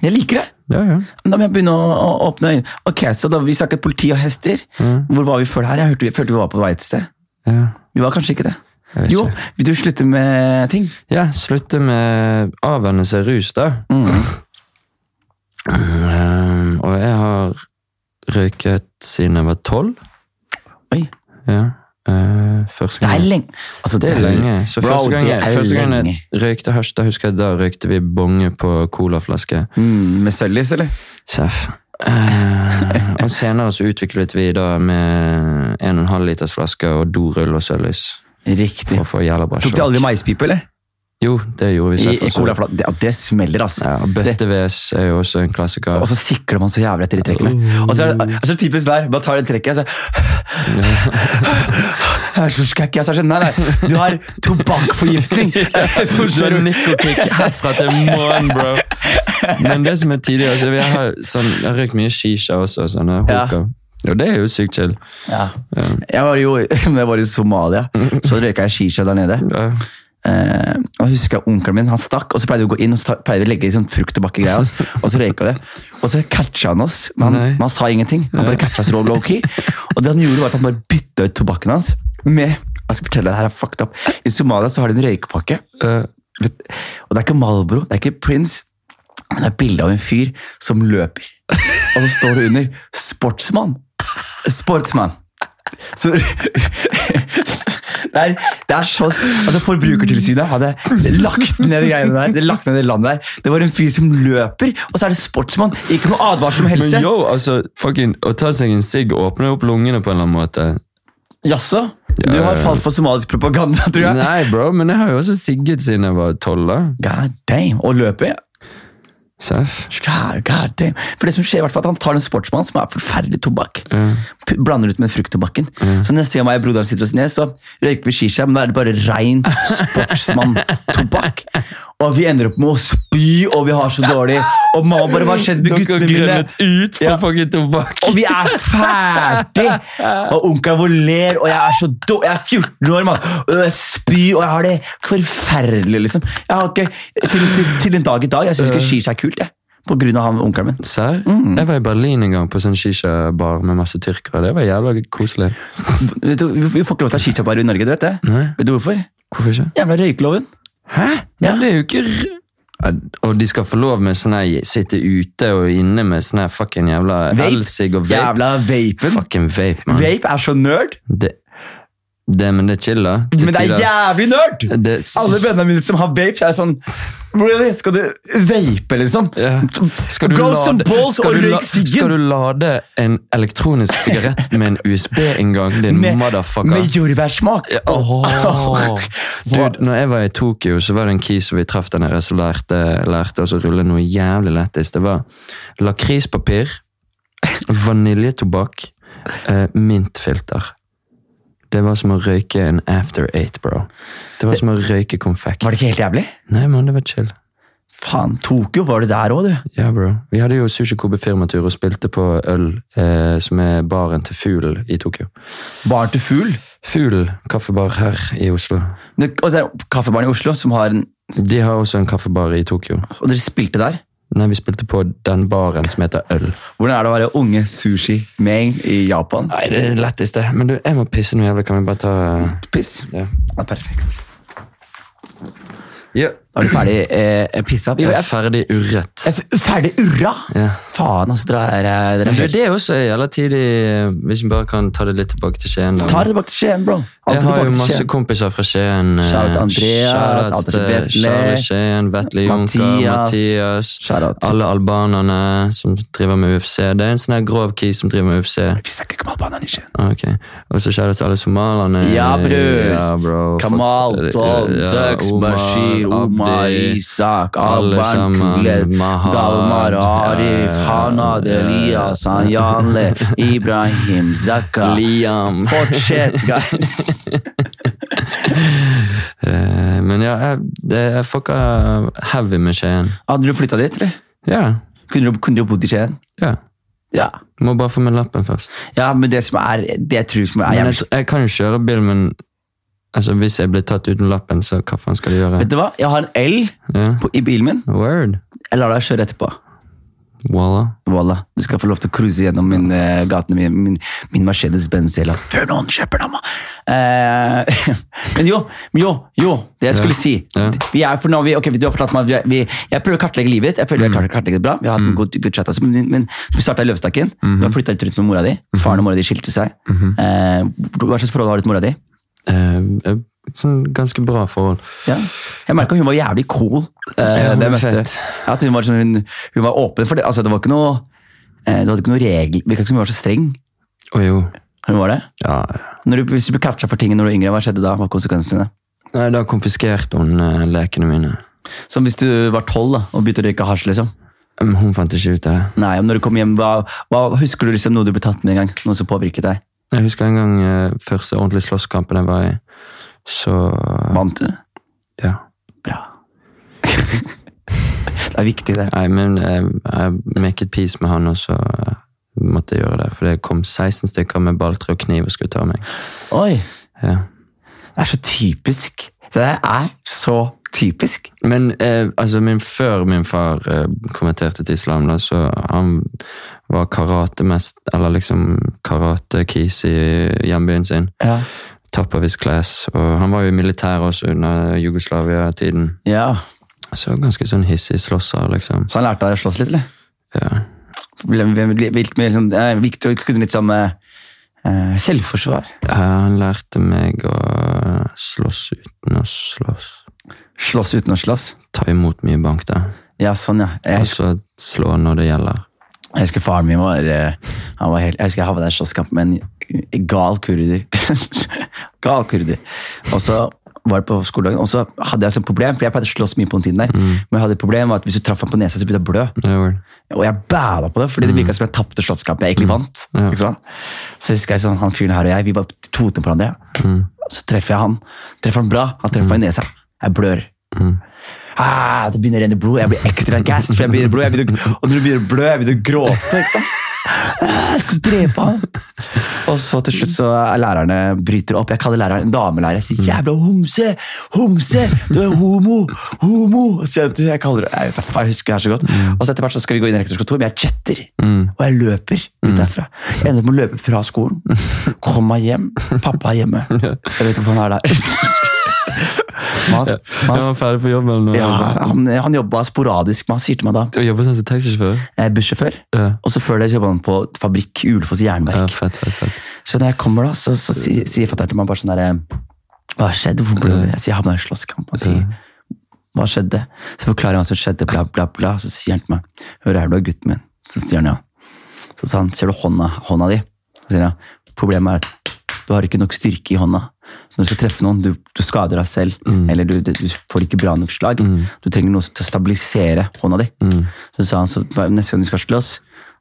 S1: Jeg liker det.
S2: Ja, ja.
S1: Da må jeg begynne å, å åpne øynene. Ok, så da Vi snakket politi og hester.
S2: Mm.
S1: Hvor var vi før det her? Jeg, hørte, jeg følte vi var på vei et sted.
S2: ja.
S1: Vi var kanskje ikke det.
S2: Jeg vet
S1: Jo,
S2: ikke.
S1: vil du slutte med ting?
S2: Ja, slutte med avvenne seg rus, da.
S1: Mm.
S2: Um, og jeg har røyket siden jeg var tolv.
S1: Oi,
S2: Ja. eh, første
S1: det
S2: gang.
S1: er lenge. Altså,
S2: Det er lenge. Så
S1: Bro,
S2: første gang,
S1: det
S2: jeg-
S1: er
S2: første gang jeg
S1: lenge.
S2: røykte hasj, da husker jeg da røykte vi bonge på colaflaske.
S1: Mm, med Søllis, eller?
S2: Seff. Eh, og senere så utviklet vi da med 1,5 liters flaske og dorull og sølvlys.
S1: Riktig.
S2: For å få jævla bra
S1: Tok de
S2: sjokk.
S1: aldri maispipe, eller?
S2: Jo, det gjorde vi
S1: I,
S2: selv.
S1: i colaflat. Det, ja, det smeller, altså.
S2: Ja, og Bøtteves er jo også en klassiker.
S1: Og så sikler man så jævlig etter de trekkene.
S2: Mm.
S1: Og så er det er så typisk der. Bare tar det trekket, og så Jeg er så skrekk, jeg. Så er det sånn, nei, nei. Du har tobakkforgiftning! Det er det som skjer.
S2: Nico-kick herfra til morgen, bro. Men det som er tidligere, altså, jeg har, sånn, jeg har røykt mye shisha også, sånne
S1: Ja.
S2: hoker. Og det er jo sykt chill.
S1: Ja. Jeg var jo når jeg var i Somalia, så røyka jeg shisha der nede.
S2: Ja.
S1: Eh, og jeg husker jeg Onkelen min han stakk, og så pleide vi å gå inn og så ta- pleide vi å legge i sånn frukt og bakke greier, og så røyka det. Og så catcha han oss, men han,
S2: Nei.
S1: men han sa ingenting. Han bare catcha oss low key. Og det han gjorde, var at han bare bytta ut tobakken hans med jeg skal fortelle deg, det her er fucked up. I Somalia så har de en røykepakke,
S2: Eh,
S1: og det er ikke Malbro, det er ikke Prince, men det er bilde av en fyr som løper. Og så står det under 'sportsmann'. Sportsmann. Så det er, det er så s- altså Forbrukertilsynet hadde lagt ned de greiene der. Det lagt ned det landet der. Det var en fyr som løper, og så er det sportsmann. Ikke noe advarsel om
S2: Men
S1: helse.
S2: yo, altså, fucking, å ta seg en sigg åpner opp lungene på en eller annen måte.
S1: Jaså? Du
S2: Ja,
S1: har
S2: ja.
S1: falt for somalisk propaganda, tror jeg.
S2: Nei, bro, men jeg har jo også sigget siden jeg var tolv. da.
S1: God damn. Og løper.
S2: Seff.
S1: God, god damn. For det som skjer i hvert fall er at Han tar en sportsmann som er forferdelig tobakk.
S2: Ja.
S1: p- blander ut med frukttobakken. Så neste gang meg og broderen sitter oss ned, så røyker vi shisha, men da er det bare rein sportsmann-tobakk. Og vi ender opp med å spy, og vi har så dårlig. Og mamma bare, hva skjedde med
S2: Dere
S1: guttene mine?
S2: gledet ut på
S1: Ja.
S2: fucking tobakk.
S1: Og vi er ferdig! Og onkelen vår ler, og jeg er så do Jeg er 14 år, mann. Og jeg spyr, og jeg har det forferdelig, liksom. Jeg har ikke, til, til, til en dag i dag. Jeg syns ikke shisha er kult, jeg. På grunn av han onkelen min.
S2: Serr?
S1: Mm.
S2: Jeg var i Berlin en gang på sånn shisha-bar med masse tyrkere. Det var jævla koselig.
S1: Vet du, Vi vi får ikke lov til å ha shisha-bar i Norge, du vet det?
S2: Nei,
S1: Vet du hvorfor?
S2: hvorfor ikke?
S1: Jævla røykeloven.
S2: Hæ?
S1: Ja.
S2: Men det er jo ikke r- Ja, Og de skal få lov med sånn her sitte ute og inne med sånn her fucking jævla
S1: Vape.
S2: elsig og vape.
S1: Jævla vapen.
S2: Fucking vape, mann.
S1: Vape er så nerd,
S2: Det, det, men det er chill, da. Til
S1: men det er
S2: tider.
S1: jævlig nerd!
S2: Det er s-
S1: Alle vennene mine som har vape, så er sånn Really? Skal du vape, liksom?
S2: Ja. Skal du
S1: Grow
S2: lade-
S1: some balls
S2: skal
S1: og
S2: du la-
S1: røyk
S2: Skal du
S1: siggen!
S2: lade en elektronisk sigarett med en USB-inngang, din
S1: Med,
S2: motherfucker?
S1: med jordbærsmak.
S2: Åh.
S1: Hva-
S2: Dude, når jeg var i Tokyo, så var det en kis vi traff der nede som lærte, lærte oss å rulle noe jævlig lættis. Det var lakrispapir, vaniljetobakk, eh, mintfilter. Det var som å røyke en after eight, bro. Det var som å røyke konfekt.
S1: Var det ikke helt jævlig?
S2: Nei, mann, det var chill.
S1: Faen, Tokyo var det der òg, du.
S2: Ja, bro. Vi hadde jo Sushi Kobe firmatur og spilte på øl, eh, som er baren til Fuglen i Tokyo.
S1: Barn til fugl.
S2: Fuglen kaffebar her i Oslo.
S1: Det- Og det er Kaffebaren i Oslo, som har en
S2: De har også en kaffebar i Tokyo.
S1: Og dere spilte der.
S2: Nei, vi spilte på den baren som heter Øl.
S1: Hvordan er det å være unge sushi-meng i Japan?
S2: Nei, det er det letteste. Men du, jeg må pisse noe jævlig. Kan vi bare ta eh,
S1: Piss.
S2: Ja.
S1: Ja, perfekt.
S2: ja.
S1: Er du ferdig eh, pissa? Vi
S2: Jeg
S1: var
S2: er ferdig urett.
S1: ferdig urra!
S2: Ja.
S1: Faen, altså. Dere er, dere er
S2: Men du,
S1: helt
S2: det er også jævla tidlig, hvis vi bare kan ta det litt tilbake til Skien. da.
S1: Ta det tilbake til Skien, bro. Alltid
S2: Jeg har
S1: tilbake
S2: jo
S1: til
S2: masse
S1: Skien.
S2: kompiser fra Skien. eh,
S1: Shout out Andreas,
S2: shoutouts
S1: Anders
S2: til
S1: Vetle,
S2: Charles Skien, Vetle Junker,
S1: Mathias.
S2: Mathias.
S1: Shout-out.
S2: Alle albanerne som driver med UFC. Det er en sånn her grov kis som driver med UFC.
S1: Vi snakker ikke om albanerne i Skien.
S2: Ah, Ok, Og så kjære til alle somalerne.
S1: Ja, bror.
S2: Ja, bro.
S1: Kamal,
S2: Fuck-
S1: Tol,
S2: ja,
S1: Døx,
S2: Omar,
S1: Bashir, Omar,
S2: Abdi.
S1: Isak,
S2: alle
S1: Alban,
S2: sammen,
S1: Kulet,
S2: Mahad,
S1: Dalmar, Arif,
S2: eh,
S1: Hanad,
S2: eh,
S1: Elias, Janle, Ibrahim, Zakka.
S2: Liam.
S1: Fortsett, guys.
S2: Eh, men ja, jeg, det, jeg fucka heavy med Skien.
S1: Hadde du flytta dit, eller?
S2: Ja.
S1: Kunne du, kunne du bodd i Skien?
S2: ja.
S1: Ja.
S2: Må bare få med lappen først.
S1: ja, men det som er Det jeg tror som er
S2: Men
S1: jævlig
S2: jeg, jeg kan jo kjøre bil, men altså, hvis jeg blir tatt uten lappen, så hva faen skal jeg gjøre?
S1: Vet du hva? Jeg har en L
S2: Ja.
S1: på, i bilen min.
S2: Word.
S1: Jeg lar deg kjøre etterpå.
S2: Walla.
S1: Voilà, du skal få lov til å cruise gjennom min, eh, gatene min, min, min Mercedes-Benz eller før noen kjøper den. Eh, men jo, men jo, jo, det jeg skulle si.
S2: Ja.
S1: Vi er, for nå, vi, ok, du har fortalt meg at vi, er- vi, Jeg prøver å kartlegge livet ditt. Jeg føler vi
S2: Mm.
S1: har kart- kartlegget det bra. Vi har hatt en god, good chat, altså, men, men du starta i Løvstakken. Du
S2: Mhm.
S1: har flytta litt rundt med mora di. Faren og mora di skilte seg. Eh, hva slags forhold har du til mora di?
S2: Eh, eh, sånn ganske bra forhold.
S1: Ja. Jeg merka hun var jævlig cool. eh,
S2: Ja, hun
S1: da jeg
S2: er
S1: møtte.
S2: fett.
S1: Ja, at hun, var sånn, hun, hun var åpen for det. Altså, det var ikke noe eh, Du hadde ikke noe regel. Virka ikke som hun var så streng.
S2: Å jo.
S1: Hun var det?
S2: Ja, ja.
S1: Når du, hvis du ble catcha for ting når du var yngre, hva skjedde da? Hva var konsekvensene dine?
S2: Nei, da konfiskerte hun eh, lekene mine.
S1: Som hvis du var tolv da, og begynte å røyke hasj, liksom.
S2: Men hun fant ikke ut av det.
S1: Nei, men når du kom hjem, hva, hva Husker du liksom noe du ble tatt med en gang? Noe som påvirket deg?
S2: Jeg husker en gang eh, første ordentlige slåsskampen jeg var i. Så
S1: Vant du?
S2: ja.
S1: Bra. det er viktig, det.
S2: Nei, men jeg, jeg maket peace med han, og så eh, måtte jeg gjøre det. For det kom 16 stykker med balltre og kniv og skulle ta meg.
S1: Oi!
S2: Ja.
S1: Det er så typisk. Det der er så typisk.
S2: Men eh, altså, min, før min far eh, konverterte til islam, da, så han var karatemest, eller liksom karate-kis i hjembyen sin.
S1: Ja.
S2: Top of his class. Og han var jo i militæret også under Jugoslavia-tiden.
S1: ja.
S2: Så ganske sånn hissig slåsser, liksom.
S1: Så han lærte deg å slåss litt, eller?
S2: Ja.
S1: Hvilket liksom, eh, Victor kunne litt sånn eh, eh, selvforsvar.
S2: Han lærte meg å slåss uten å slåss.
S1: Slåss uten å slåss.
S2: Ta imot mye bank, da.
S1: Ja, sånn, ja. Jeg
S2: Og
S1: husker,
S2: så slå når det gjelder.
S1: jeg husker faren min var, eh, han var helt, Jeg husker jeg havna i en slåsskamp med en gal kurder. gal kurder. Og så var det på skoledagen, og så hadde jeg altså et sånt problem, for jeg pleide å slåss mye på den tiden der, men jeg hadde et problem var at hvis du traff ham på nesa, så begynte jeg å blø.
S2: Det var det.
S1: Og jeg bæla på det, fordi det virka som jeg tapte slåsskampen. Jeg egentlig vant.
S2: Ja.
S1: Ikke sant? Så husker jeg sånn, han fyren her og jeg, vi bare toter på hverandre. Så treffer jeg han. Treffer han bra, han treffer meg i nesa. Jeg blør. Ah, det begynner å renne blod, jeg blir ekstra gassed, for jeg begynner å blø. Jeg begynner, og når du begynner å blø, jeg begynner å gråte. ikke sant? Ah, Jeg skal drepe han! Og så til slutt så er lærerne bryter opp. Jeg kaller læreren damelærer. Jeg sier 'jævla homse! Homse! Du er homo! Homo!' Så jeg, jeg kaller det, jeg, vet da faen, jeg husker det her så godt. Og så etter hvert så skal vi gå inn i rektors kontor, men jeg chatter. Og jeg løper ut derfra. Jeg ender opp med å løpe fra skolen. Kom meg hjem. Pappa er hjemme. Jeg vet ikke hvorfor han er der. Men Han, men
S2: Er
S1: han,
S2: han ferdig på jobb, eller noe?
S1: ja, han, han jobba sporadisk, men han sier til meg da
S2: Du jobber sånn som taxisjåfør?
S1: Jeg er bussjåfør,
S2: Ja.
S1: og så før det så jobba han på fabrikk Ulefoss
S2: ja,
S1: jernverk.
S2: fett, fett, fett.
S1: Så når jeg kommer, da, så, så sier, sier fatter'n til meg bare sånn derre Hva har skjedd? Hvorfor ble du Jeg sier jeg havna i en slåsskamp. Han sier hva skjedde? Så forklarer jeg hva som skjedde, bla, bla, bla. Så sier han til meg Hører her, du er gutten min. Så sier han ja. Så sa han Ser du hånda, hånda di? Så sier han ja. Problemet er at du har ikke nok styrke i hånda. Så når du skal treffe noen, du, du skader deg selv, eller du, du får ikke bra nok slag. Du trenger noe til å stabilisere hånda di. Så sa han så hva- neste gang du skal slåss,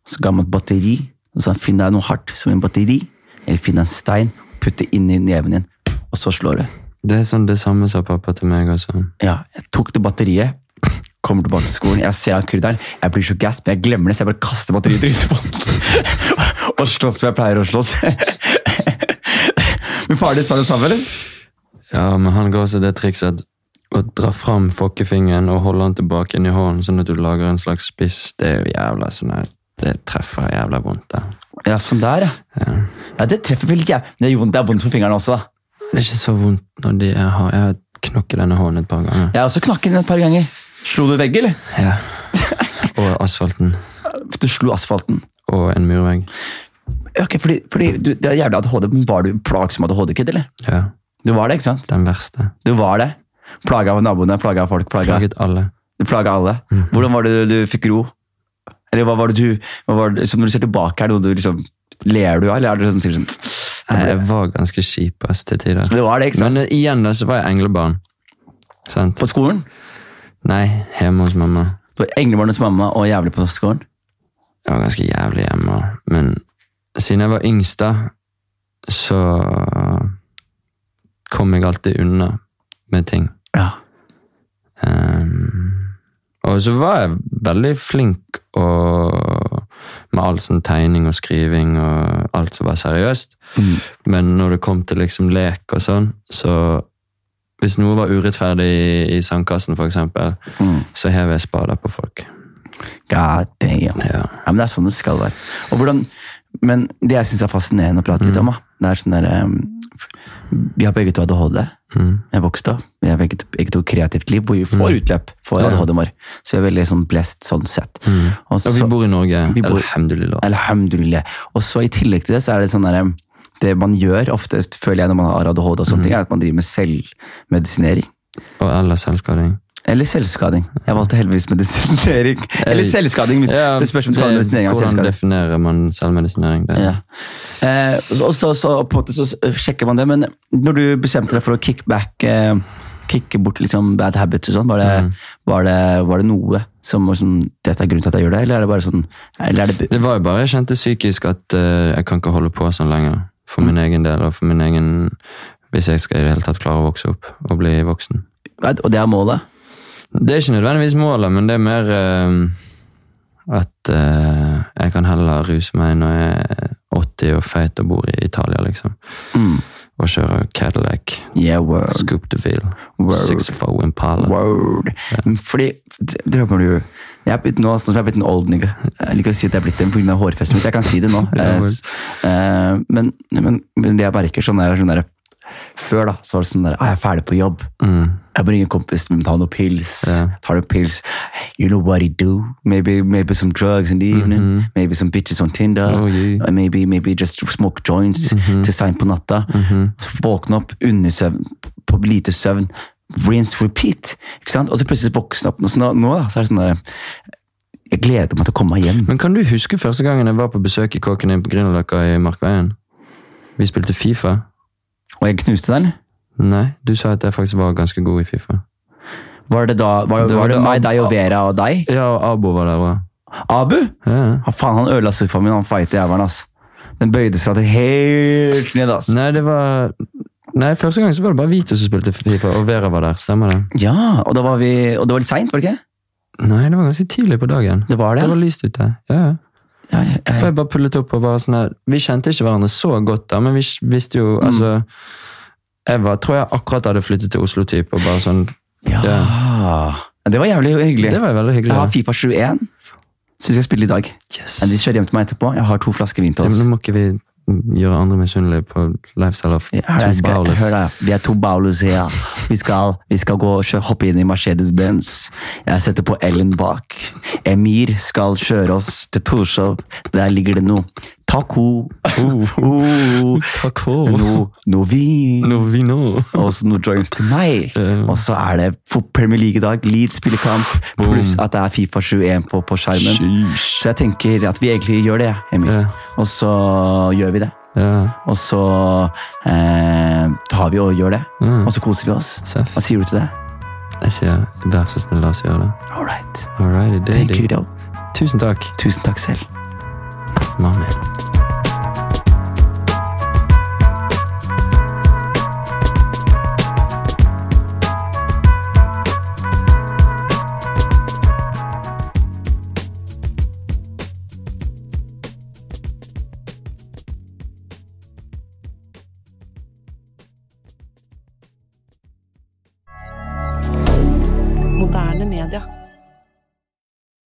S1: så ga han meg et batteri. Så sa han finn deg noe hardt som en batteri, eller finn deg en stein, putt det inn i neven din, og så slår du.
S2: Det er sånn det samme sa pappa til meg også.
S1: Ja, jeg tok det batteriet, kommer tilbake til skolen, jeg ser han kurderen, jeg blir så gassed, men jeg glemmer det, så jeg bare kaster batteriet i trynet på han. Og slåss som jeg pleier å slåss. Men faren din sa det samme, eller?
S2: Ja, men han ga også det trikset at å dra fram fokkefingeren og holde den tilbake inn i hånden, sånn at du lager en slags spiss, det er jo jævla sånn her Det treffer jævla vondt, det.
S1: Ja, sånn der, ja.
S2: Ja.
S1: Ja, det treffer vel ikke jeg. Men det er jo vondt- det er vondt for fingrene også, da.
S2: Det er ikke så vondt når de jeg har Jeg har knokket denne hånden et par ganger.
S1: Jeg har også knakket den et par ganger. Slo du vegg, eller?
S2: Ja. Og asfalten.
S1: Du slo asfalten.
S2: Og en murvegg.
S1: Ja, Ok, fordi, fordi du, det er jævlig ADHD, men var du plagsom ADHD-kid, eller?
S2: Ja.
S1: Du var det, ikke sant?
S2: Den verste.
S1: Du var det. Plaga av naboene, plaga av folk, plaga.
S2: Plaget alle.
S1: Du plaga alle.
S2: Mhm.
S1: Hvordan var det du fikk ro? Eller hva var det du hva var det, liksom Når du ser tilbake, er det noe du liksom Ler du av, eller er det sånn typ sånn
S2: Nei, Jeg var ganske kjip ass, til tider.
S1: Det var det, ikke sant?
S2: Men eh, igjen da, så var jeg englebarn. Sant?
S1: På skolen?
S2: Nei, hjemme hos mamma.
S1: Du var englebarn hos mamma og jævlig på skolen?
S2: Jeg var ganske jævlig hjemme. også. Men siden jeg var yngst da, så kom jeg alltid unna med ting.
S1: Ja.
S2: Ehm, og så var jeg veldig flink og, med all sånn tegning og skriving og alt som var seriøst.
S1: Mm.
S2: Men når det kom til liksom lek og sånn, så hvis noe var urettferdig i, i sandkassen for eksempel,
S1: Mm.
S2: så hev jeg spader på folk.
S1: God damn.
S2: Ja.
S1: Ja, men det er sånn det skal være. Og hvordan, men det jeg syns er fascinerende å prate litt
S2: Mhm.
S1: om, da, det er sånn der um, f- Vi har begge to ADHD.
S2: Mm.
S1: Jeg vokste opp. Vi har begge to, begge to kreativt liv hvor vi får utløp for
S2: Mhm. Ja.
S1: ADHD-en vår. Så vi er veldig sånn blessed sånn sett. Og
S2: Mm. Og vi bor i Norge.
S1: Vi bor-
S2: Alhamdulillah.
S1: Alhamdulillah. Og så i tillegg til det, så er det sånn der, em, det man gjør ofte, føler jeg når man har ADHD og sånne ting, er at man driver med selvmedisinering.
S2: Og ellers selvskading.
S1: Eller selvskading. Jeg valgte heldigvis medisinering. Eller selvskading, men det spørs om du kaller det medisinering eller
S2: Hvordan
S1: selvskading.
S2: definerer man selvmedisinering? Det?
S1: Ja. Eh, og så, så på en måte så sjekker man det, men når du bestemte deg for å kick back, eh, kicke bort liksom bad habits og sånn, var, det- var, det- var det noe som var sånn, dette er grunnen til at jeg gjør det, eller er det bare sånn, eller er det...
S2: Det var jo bare jeg kjente psykisk at eh, jeg kan ikke holde på sånn lenger. For min egen del og for min egen Hvis jeg skal i det hele tatt klare å vokse opp og bli voksen.
S1: Og det er målet?
S2: Det er ikke nødvendigvis målet, men det er mer eh, at eh, jeg kan heller ruse meg når jeg er 80 og feit og bor i Italia, liksom.
S1: Mm.
S2: Og kjøre Cadillac,
S1: Yeah, word.
S2: Scoop the Feel,
S1: Word.
S2: 64 Impala.
S1: Word. Men Fordi, d- drømmer du jeg er blitt, nå, sånn som jeg er blitt en old nigga. Jeg liker å si at jeg er blitt en pga. hårfestet mitt. Jeg kan si det nå.
S2: Ja,
S1: Eh,
S2: vel.
S1: s- eh, men, men, men det jeg merker, sånn er sånn der Før da, så var det sånn der, ah, jeg er ferdig på jobb.
S2: Mm.
S1: Jeg bringer en kompis med ta noen pils.
S2: Ja.
S1: Tar noen pils. You know what he do? Maybe, maybe some drugs in the evening. Maybe some bitches on Tinder.
S2: Mm-hmm. Oh, yeah.
S1: Or maybe, maybe just smoke joints
S2: Mm-hmm.
S1: til seint på natta. Så Våkne opp under søvn, på lite søvn. Rinse, repeat. Ikke sant? Og så plutselig våkne opp. Så nå, nå da, så er det sånn der, Jeg gleder meg til å komme meg hjem.
S2: Men kan du huske første gangen jeg var på besøk i kåken din på Grünerløkka i Markveien? Vi spilte Fifa.
S1: Og jeg knuste den.
S2: Nei, du sa at jeg faktisk var ganske god i Fifa.
S1: Var det da, var,
S2: Det
S1: var,
S2: var
S1: det
S2: det
S1: meg,
S2: Ab-
S1: deg og Vera og deg?
S2: Ja, og Abo var der òg.
S1: Abu?
S2: Ja. ja.
S1: Ja, faen, han ødela sofaen min, han feite jævelen, ass. Den bøyde seg til helt ned, ass.
S2: Nei, det var Nei, første gang så var det bare Vito som spilte Fifa, og Vera var der. Stemmer det?
S1: Ja, og da var vi Og det var litt seint, var det ikke?
S2: Nei, det var ganske tidlig på dagen.
S1: Det var det.
S2: Det var lyst ute. Ja, ja.
S1: Ja, ja, ja.
S2: For jeg bare pullet opp og bare sånn her Vi kjente ikke hverandre så godt da, men vi s- visste jo
S1: Mm.
S2: Altså Jeg var, tror jeg akkurat hadde flyttet til Oslo, typ, og bare sånn
S1: ja. Ja, Det var jævlig hyggelig.
S2: Det var veldig hyggelig.
S1: Jeg
S2: da.
S1: har Fifa 21. Syns jeg spiller i dag.
S2: Yes.
S1: Men de kjører hjem til meg etterpå. Jeg har to flasker vin
S2: Ja,
S1: til
S2: men
S1: oss.
S2: nå må ikke vi gjøre andre misunnelige på lifestyle of
S1: Ja, jeg
S2: two
S1: skal-
S2: bowlers.
S1: Hør da, vi er to bowlers her. Vi skal, vi skal gå og kjø- hoppe inn i Mercedes-Benz. Jeg setter på Ellen bak. Emir skal kjøre oss til Torshov. Der ligger det noe taco. Oh.
S2: Takk for
S1: Noe no vin.
S2: Nå vi nå.
S1: Og så noe joints til meg.
S2: Ja.
S1: Og så er det fot- Premier League i dag, Leeds spiller kamp, pluss at det er Fifa 21 på, på skjermen.
S2: Sheesh.
S1: Så jeg tenker at vi egentlig gjør det, Emil.
S2: Ja.
S1: Og så gjør vi det.
S2: Ja.
S1: Og så eh, tar vi og gjør det.
S2: Mm.
S1: Og så koser vi oss.
S2: Seff.
S1: Hva sier du til det?
S2: Jeg sier vær så snill, la oss gjøre det.
S1: All right.
S2: Alrighty,
S1: Thank
S2: daddy.
S1: you, though.
S2: Tusen takk,
S1: Tusen takk selv.
S2: mamma.
S4: Moderne media.